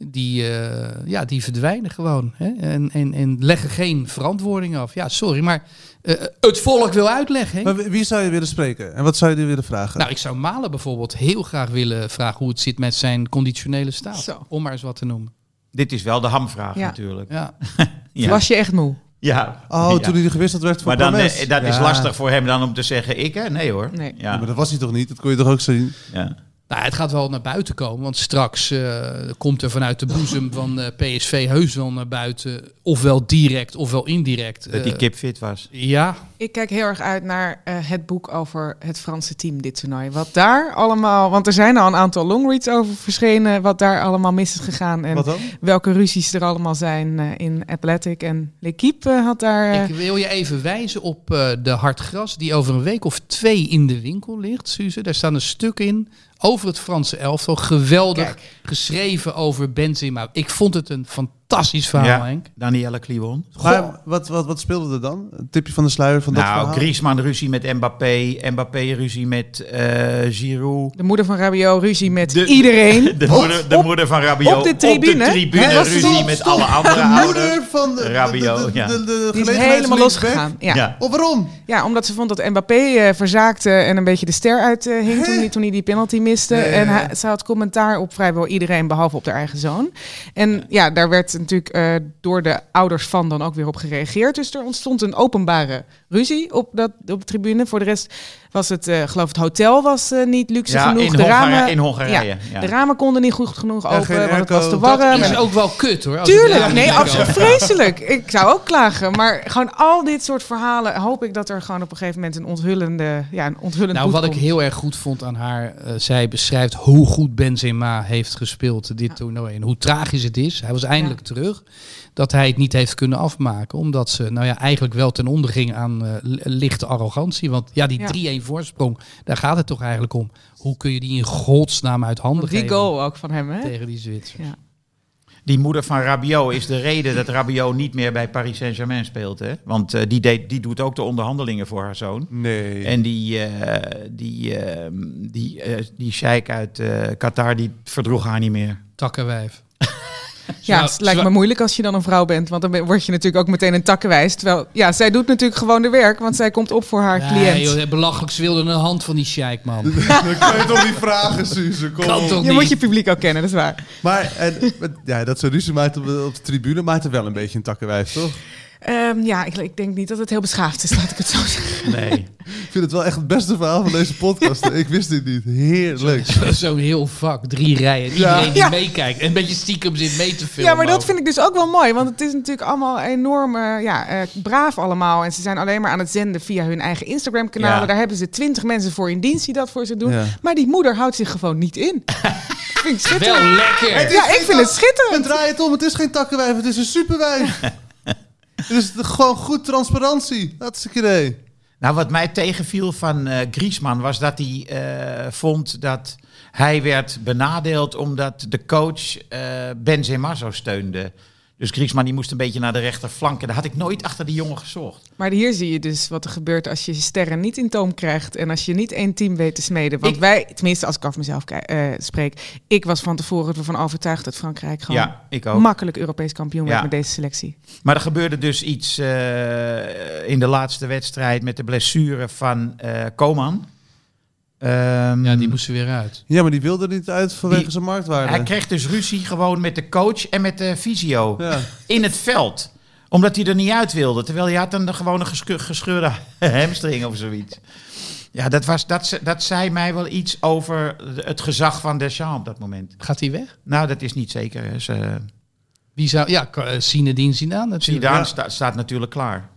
C: die, eh, ja, die verdwijnen gewoon. Hè? En, en, en leggen geen verantwoording af. Ja, sorry, maar eh, het volk wil uitleggen. hè?
B: Maar wie wie zou je willen spreken? En wat zou je die willen vragen?
C: Nou, ik zou Malen bijvoorbeeld heel graag willen vragen hoe het zit met zijn conditionele staat.
E: Zo.
C: Om maar eens wat te noemen.
A: Dit is wel de hamvraag
E: Ja.
A: natuurlijk.
C: Ja.
A: Ja.
E: Was je echt moe?
A: Ja.
B: Oh,
A: Ja.
B: toen hij gewisseld werd voor
A: Maar dan,
B: Promes.
A: eh, dat is
B: Ja.
A: lastig voor hem dan om te zeggen ik hè? Nee hoor.
E: Nee.
B: Ja, maar
A: Ja.
B: dat was hij toch niet? Dat kon je toch ook zien?
A: Ja.
C: Nou, het gaat wel naar buiten komen, want straks eh, komt er vanuit de boezem van eh, PSV heus wel naar buiten. Ofwel direct, ofwel indirect.
A: Dat die
C: Eh,
A: kip fit was.
C: Ja,
E: Ik kijk heel erg uit naar eh, het boek over het Franse team dit toernooi. Wat daar allemaal, want er zijn al een aantal longreads over verschenen, wat daar allemaal mis is gegaan en
B: Wat dan?
E: welke ruzies er allemaal zijn eh, in Athletic en L'Equipe eh, had daar. eh,
C: ik wil je even wijzen op eh, de hardgras die over een week of twee in de winkel ligt, Suze. Daar staan een stuk in over het Franse elftal. Geweldig geschreven over Benzema. Ik vond het een fantastisch verhaal,
A: Ja.
C: Henk.
A: Danielle Kliwon.
B: Maar wat, wat, wat speelde er dan? Een tipje van de sluier van dat
A: Nou,
B: verhaal?
A: Griezmann ruzie met Mbappé, Mbappé ruzie met eh Giroud.
E: de moeder van Rabiot ruzie met
A: De-
E: iedereen. Oh,
A: De, moeder, de moeder van Rabiot
E: op de tribune?
A: tribune
B: Hè, was het
A: ruzie
B: al?
A: met
B: Stop.
A: alle andere
B: De moeder
A: ouders.
B: van de, de,
A: Rabiot,
B: de, de,
A: ja.
B: de, de
E: Die is
B: gelegenheids- linksback.
E: helemaal losgegaan. Ja. Ja.
B: Of waarom?
E: omdat ze vond dat Mbappé eh, verzaakte en een beetje de ster uit eh, hing toen hij, toen hij die penalty miste.
B: Ja, ja,
E: En
B: ja.
E: hij- ze had commentaar op vrijwel iedereen, behalve op haar eigen zoon. En ja, daar werd natuurlijk eh, door de ouders van dan ook weer op gereageerd. Dus er ontstond een openbare ruzie op, dat, op de tribune. Voor de rest was het, eh, geloof het hotel was eh, niet luxe
A: Ja,
E: genoeg.
A: in
E: de
A: Hongarije-
E: ramen,
A: in Hongarije,
E: Ja,
A: ja.
E: De ramen konden niet goed genoeg
B: Ja,
E: open,
B: geen
E: want het
B: airco.
E: was te
B: Dat
E: warm.
C: Dat
E: En-
C: is ook wel kut hoor. als het
E: eh, Tuurlijk,
C: daar
E: nee,
C: niet
E: absoluut
C: kan.
E: vreselijk. Ik zou ook klagen, maar gewoon al dit soort verhalen hoop ik dat er gewoon op een gegeven moment een onthullende, ja, een onthullend
C: Nou,
E: boek
C: wat ik
E: komt.
C: heel erg goed vond aan haar, eh, zij beschrijft hoe goed Benzema heeft gespeeld dit toernooi en hoe tragisch het is. Hij was eindelijk terug dat hij het niet heeft kunnen afmaken, omdat ze nou ja, eigenlijk wel ten onder ging aan eh, li- lichte arrogantie. Want ja,
E: Ja.
C: die 3-1 voorsprong, daar gaat het toch eigenlijk om. Hoe kun je die in godsnaam uit handen
E: die
C: geven
E: goal ook van hem, hè?
C: tegen die Zwitser?
E: Ja.
A: Die moeder van Rabiot is de reden dat Rabiot niet meer bij Paris Saint-Germain speelt. Hè? Want eh, die, deed, die doet ook de onderhandelingen voor haar zoon.
B: Nee.
A: En die, eh, die, eh, die, eh, die sheik uit eh, Qatar, die verdroeg haar niet meer.
C: Takkenwijf.
E: Ja,
C: Zwa-
E: het lijkt
C: zwa-
E: me moeilijk als je dan een vrouw bent, want dan ben- word je natuurlijk ook meteen een takkenwijs. Terwijl, ja, zij doet natuurlijk gewoon de werk, want zij komt op voor haar
C: Nee,
E: cliënt.
C: joh, belachelijk, ze wilde een hand van die sheik, man.
B: Dan kan je toch niet vragen, Suze? Kom
C: Kan
B: op.
C: toch
E: je moet
C: niet?
E: je publiek ook kennen, dat is waar.
B: Maar en, maar, ja, dat ze ruzie maakt op, de- op de tribune maakt er wel een beetje een takkenwijf, toch?
E: Ehm, ja, ik, ik denk niet dat het heel beschaafd is, laat ik het zo zeggen.
A: Nee.
B: Ik vind het wel echt het beste verhaal van deze podcast. Ik wist dit niet. Heerlijk.
C: Zo- Zo'n heel vak, drie rijen. Iedereen die
E: Ja.
C: meekijkt. En een beetje stiekem zit mee te filmen.
E: Ja, maar dat
C: ook.
E: vind ik dus ook wel mooi, want het is natuurlijk allemaal enorm eh, ja, eh, braaf allemaal. En ze zijn alleen maar aan het zenden via hun eigen Instagram-kanalen.
A: Ja.
E: Daar hebben ze twintig mensen voor in dienst die dat voor ze doen.
B: Ja.
E: Maar die moeder houdt zich gewoon niet in. vind ik schitterend.
C: Wel lekker.
E: Ja, ik vind het
B: En
E: schitterend.
B: draai het om. Het is geen takkenwijf, het is een superwijf. het is gewoon goed transparantie. Dat is een idee.
A: Nou, wat mij tegenviel van eh Griezmann was dat hij eh, vond dat hij werd benadeeld omdat de coach eh, Benzema zo steunde. Dus Griezmann die moest een beetje naar de rechterflank. En daar had ik nooit achter die jongen gezocht.
E: Maar hier zie je dus wat er gebeurt als je je sterren niet in toom krijgt. En als je niet één team weet te smeden. Want
C: Ik-
E: wij, tenminste als ik af mezelf kijk- eh, spreek. Ik was van tevoren ervan overtuigd dat Frankrijk gewoon
A: Ja, ik ook.
E: makkelijk Europees kampioen
A: Ja.
E: werd met deze selectie.
A: Maar er gebeurde dus iets eh, in de laatste wedstrijd met de blessure van eh Coman. Ehm,
C: Ja, die moesten weer uit.
B: Ja, maar die wilde er niet uit vanwege
A: Die-
B: zijn marktwaarde.
A: Hij kreeg dus ruzie gewoon met de coach en met de fysio
B: Ja.
A: in het veld omdat hij er niet uit wilde. Terwijl hij had een gewone gesche- gescheurde hamstring of zoiets. Ja, dat, was, dat, ze- dat zei mij wel iets over het gezag van Deschamps op dat moment.
C: Gaat hij weg?
A: Nou, dat is niet zeker. hè. Ze-
C: Wie zou... Ja, K- eh, Zinedine Zidane natuurlijk.
A: Zidane sta- staat natuurlijk klaar.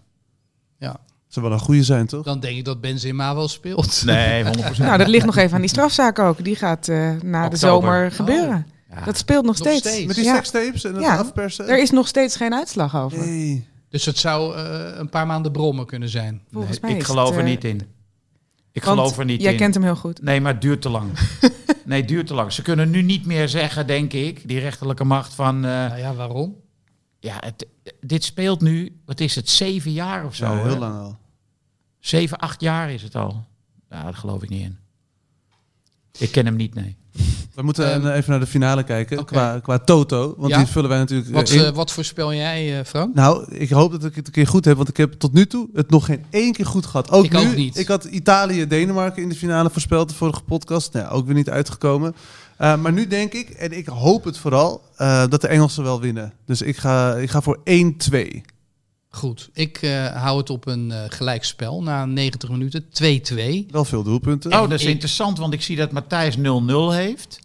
C: Ja.
B: Zou wel een goede zijn, toch?
C: Dan denk ik dat Benzema wel speelt.
A: Nee, 100%.
E: Nou, dat ligt nog even aan die strafzaak ook. Die gaat eh, na de
A: Oktober. Oh.
E: zomer gebeuren. Dat speelt nog
C: Nog
E: steeds.
C: steeds.
B: Met die
E: Ja.
B: sekstapes en het
E: Ja.
B: afpersen.
E: Er is nog steeds geen uitslag over.
B: Nee.
C: Dus het zou eh, een paar maanden brommen kunnen zijn.
E: Volgens mij
A: ik
E: is
A: geloof
E: het,
A: er
E: eh,
A: niet in. Ik
E: want
A: geloof er niet
E: jij
A: in.
E: kent hem heel goed.
A: Nee, maar het duurt te lang. nee, het duurt te lang. Ze kunnen nu niet meer zeggen, denk ik, die rechterlijke macht van... eh,
C: Nou ja, waarom?
A: ja, het, dit speelt nu, wat is het, zeven jaar of zo?
B: Zo,
A: hè?
B: heel lang al.
A: Zeven, acht jaar is het al. Nou, daar geloof ik niet in. Ik ken hem niet, nee.
B: We moeten
C: Ehm,
B: eh, even naar de finale kijken
C: oké.
B: qua, qua Toto. Want
C: Ja.
B: die vullen wij natuurlijk eh,
C: Wat,
B: in.
C: eh, wat voorspel jij, eh, Frank?
B: Nou, ik hoop dat ik het een keer goed heb, want ik heb tot nu toe het nog geen één keer goed gehad. Ook
C: Ik
B: nu,
C: ook niet.
B: Ik had Italië, Denemarken in de finale voorspeld de vorige podcast. Nou, ook weer niet uitgekomen. Eh, maar nu denk ik, en ik hoop het vooral, eh, dat de Engelsen wel winnen. Dus ik ga, ik ga voor 1-2.
C: Goed, ik eh, hou het op een eh, gelijkspel na 90 minuten. 2-2.
B: Wel veel doelpunten.
A: Oh, dat is
C: ik-
A: interessant, want ik zie dat Matthijs 0-0 heeft.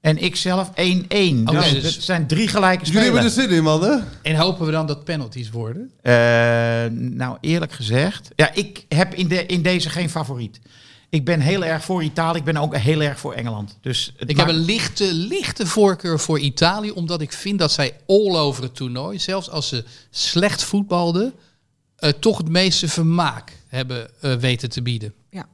A: En ik zelf 1-1.
C: Oké,
A: dus,
C: dus-
A: dat zijn drie gelijke
B: Jullie
A: spelen.
B: hebben er zin in, mannen.
C: En hopen we dan dat penalties
A: dus-
C: worden?
A: Eh, nou, eerlijk gezegd. Ja, ik heb in, de, in deze geen favoriet. Ik ben heel erg voor Italië. Ik ben ook heel erg voor Engeland. Dus het
C: Ik
A: maakt-
C: heb een lichte, lichte voorkeur voor Italië, omdat ik vind dat zij all over het toernooi, zelfs als ze slecht voetbalden, eh, toch het meeste vermaak hebben eh, weten te bieden.
A: Ja,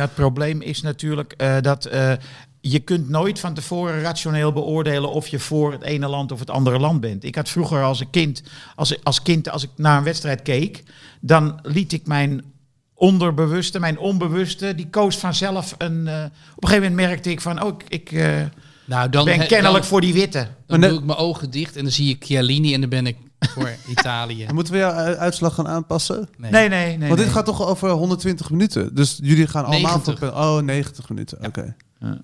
A: het probleem is natuurlijk eh, dat eh, je kunt nooit van tevoren rationeel beoordelen of je voor het ene land of het andere land bent. Ik had vroeger als een kind, als, als kind, als ik naar een wedstrijd keek, dan liet ik mijn onderbewuste, mijn onbewuste, die koos vanzelf een. eh, op een gegeven moment merkte ik van, oh, ik, ik eh,
C: Nou, dan,
A: ben
C: he-
A: kennelijk
C: dan,
A: voor die witte.
C: dan
B: Maar
C: doe
B: net-
C: ik mijn ogen dicht en dan zie ik Chiellini en dan ben ik voor Italië.
B: Dan moeten we jouw u- uitslag gaan aanpassen.
A: Nee, nee, nee.
B: want dit
A: nee.
B: gaat toch over 120 minuten. Dus jullie gaan allemaal
C: 90.
B: voor... pen- Oh, 90 minuten. Oké.
A: Ja.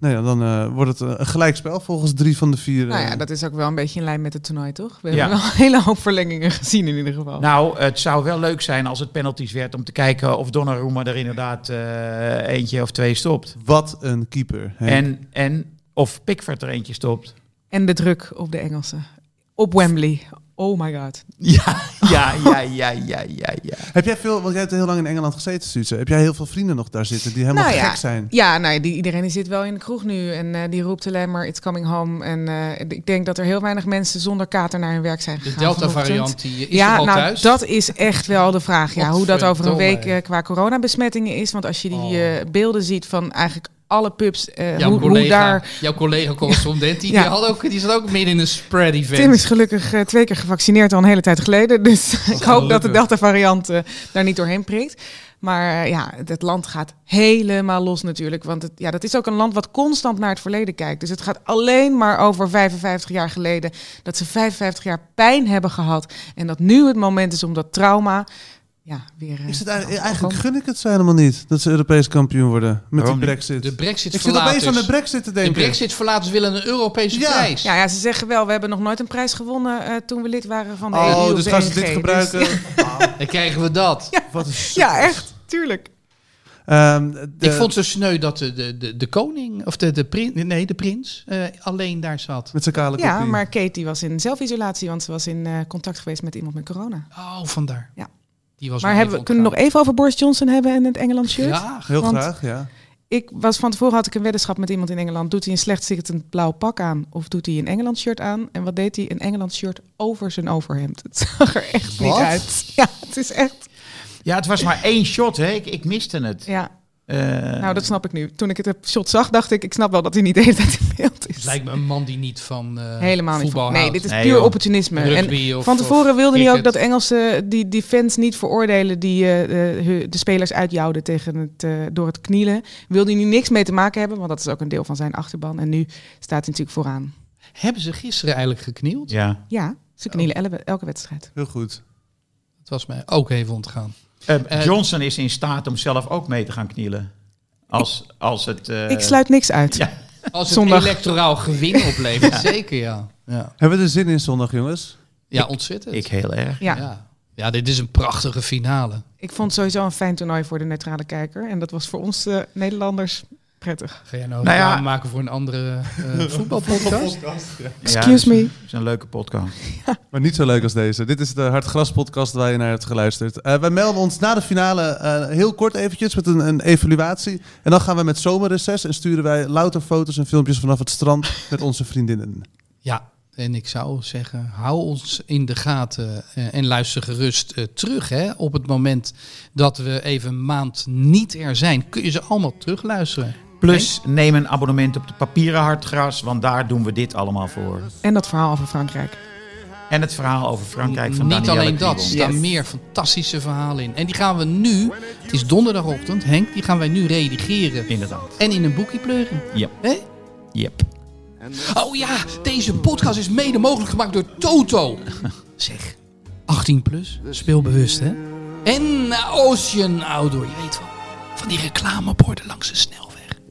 B: Nou ja, dan eh, wordt het eh, een gelijkspel volgens drie van de vier.
E: Nou ja,
B: eh,
E: dat is ook wel een beetje in lijn met het toernooi, toch? We
A: Ja.
E: hebben wel een hele hoop verlengingen gezien in ieder geval.
A: Nou, het zou wel leuk zijn als het penalties werd om te kijken of Donnarumma er inderdaad eh, eentje of twee stopt.
B: Wat een keeper. Henk.
A: En, en of Pickford er eentje stopt.
E: En de druk op de Engelsen. Op Wembley. Oh my god.
A: Ja, ja, ja, ja, ja, ja, ja.
B: Heb jij veel, want jij hebt heel lang in Engeland gezeten, Suze. Heb jij heel veel vrienden nog daar zitten die helemaal
E: Nou ja.
B: gek zijn?
E: Ja, nou, ja, die, iedereen die zit wel in de kroeg nu en eh, die roept alleen maar It's coming home. En eh, ik denk dat er heel weinig mensen zonder kater naar hun werk zijn
C: De
E: gegaan. vanochtend.
C: Delta-variant die eh, is
E: ja,
C: toch al
E: nou,
C: thuis?
E: dat is echt wel de vraag. Ja, hoe dat over een week
C: Godverdomme.
E: eh, qua coronabesmettingen is. Want als je die
C: Oh.
E: eh, beelden ziet van eigenlijk alle pubs, eh,
C: Jouw
E: hoe, hoe
C: collega,
E: daar...
C: jouw collega correspondent, die,
E: Ja.
C: die, had ook, die zat ook midden in een spread-event.
E: Tim is gelukkig eh, twee keer gevaccineerd al een hele tijd geleden. Dus ik hoop dat de
B: gelukkig.
E: Delta-variant eh, daar niet doorheen prikt. Maar eh, ja, het land gaat helemaal los natuurlijk. Want het, ja, dat is ook een land wat constant naar het verleden kijkt. Dus het gaat alleen maar over 55 jaar geleden. Dat ze 55 jaar pijn hebben gehad. En dat nu het moment is om dat trauma ja, weer... eh,
B: Is het eigenlijk, eigenlijk gun ik het ze helemaal niet dat ze Europees kampioen worden met
A: Waarom
B: die
A: niet?
B: brexit.
C: De brexit
B: ik zit opeens aan de
C: verlaters.
B: brexit te
C: De
B: denken.
C: brexit-verlaters willen een Europese
B: Ja.
C: prijs.
E: Ja, ja, ze zeggen wel, we hebben nog nooit een prijs gewonnen eh, toen we lid waren van de EU.
B: Oh,
E: of
B: dus
E: de
B: gaan ze
E: ENG.
B: dit
E: Dus-
B: gebruiken? Wauw,
C: Dan krijgen we dat.
B: wat een
E: ja, echt, tuurlijk.
B: Ehm, de-
C: Ik vond het zo sneu dat de, de, de, de koning, of de, de, prins, nee, de prins, eh, alleen daar zat.
B: Met zijn kale
E: Ja,
B: kopie.
E: maar Kate die was in zelfisolatie, want ze was in eh, contact geweest met iemand met corona.
C: Oh, vandaar.
E: Ja.
C: Die was
E: maar
C: nog
E: hebben, we-
C: even
E: kunnen we nog even over Boris Johnson hebben en het Engeland shirt?
C: ontgaan. Ja,
B: Heel
E: want-
B: graag, ja.
E: Ik was van tevoren had ik een weddenschap met iemand in Engeland. Doet hij een slecht zittend blauw pak aan of doet hij een Engeland shirt aan? En wat deed hij? Een Engeland shirt over zijn overhemd. Het zag er echt niet
B: Wat?
E: uit. Ja, het is echt.
A: Ja, het was maar één shot, hè. Ik, ik miste het.
E: Ja,
A: Eh,
E: nou dat snap ik nu. Toen ik het heb- shot zag, dacht ik, ik snap wel dat hij niet de hele tijd in beeld
C: het
E: is.
C: lijkt me een man die niet van eh
E: Helemaal niet.
C: voetbal
E: van- Nee,
C: houdt.
E: dit is
A: Nee,
E: puur
A: joh.
E: opportunisme. En
C: Rugby of-
E: Van tevoren
C: of
E: wilde hij ook
C: cricket.
E: dat Engelsen eh, die, die fans niet veroordelen die eh, eh, hu- de spelers uitjouwden tegen het, eh, door het knielen. Wilde hij nu niks mee te maken hebben, want dat is ook een deel van zijn achterban. En nu staat hij natuurlijk vooraan.
C: Hebben ze gisteren eigenlijk geknield?
A: ja.
E: Ja, ze knielen elke, elke wedstrijd.
B: Heel goed.
C: Dat was mij ook even ontgaan.
A: Eh,
C: Eh,
A: Johnson is in staat om zelf ook mee te gaan knielen. Als, als het... eh,
E: Ik sluit niks uit.
A: ja.
C: Als het
E: Zondag.
C: electoraal gewin oplevert, zeker ja. Ja,
B: Hebben we er zin in zondag, jongens?
C: ja ontzettend.
A: Ik heel erg.
E: Ja.
C: ja. Ja, dit is een prachtige finale.
E: Ik vond het sowieso een fijn toernooi voor de neutrale kijker. En dat was voor ons eh, Nederlanders prettig.
C: Ga jij nou,
A: Nou ja.
C: reclame maken voor een andere eh voetbalpodcast?
E: Excuse
A: is een-
E: me.
A: is een leuke podcast.
B: Maar niet zo leuk als deze. Dit is de Hartgras podcast waar je naar hebt geluisterd. Eh, wij melden ons na de finale eh, heel kort eventjes met een, een evaluatie. En dan gaan we met zomerreces en sturen wij louter foto's en filmpjes vanaf het strand met onze vriendinnen.
C: Ja, en ik zou zeggen, hou ons in de gaten eh, en luister gerust eh, terug. Hè. Op het moment dat we even een maand niet er zijn, kun je ze allemaal terugluisteren.
A: Plus, neem een abonnement op de papieren hartgras, want daar doen we dit allemaal voor.
E: En dat verhaal over Frankrijk.
A: En het verhaal over Frankrijk van
C: Niet
A: Danielle
C: alleen dat,
A: Kriebel.
C: staan meer fantastische verhalen in. En die gaan we nu, het is donderdagochtend, Henk, die gaan wij nu redigeren.
A: Inderdaad.
C: En in een boekje pleuren.
A: Ja.
C: Hè?
A: Yep.
C: Oh ja, deze podcast is mede mogelijk gemaakt door Toto. Zeg, 18 plus, speelbewust hè? En eh, Ocean Outdoor, je weet wel. Van die reclameborden langs de snelweg.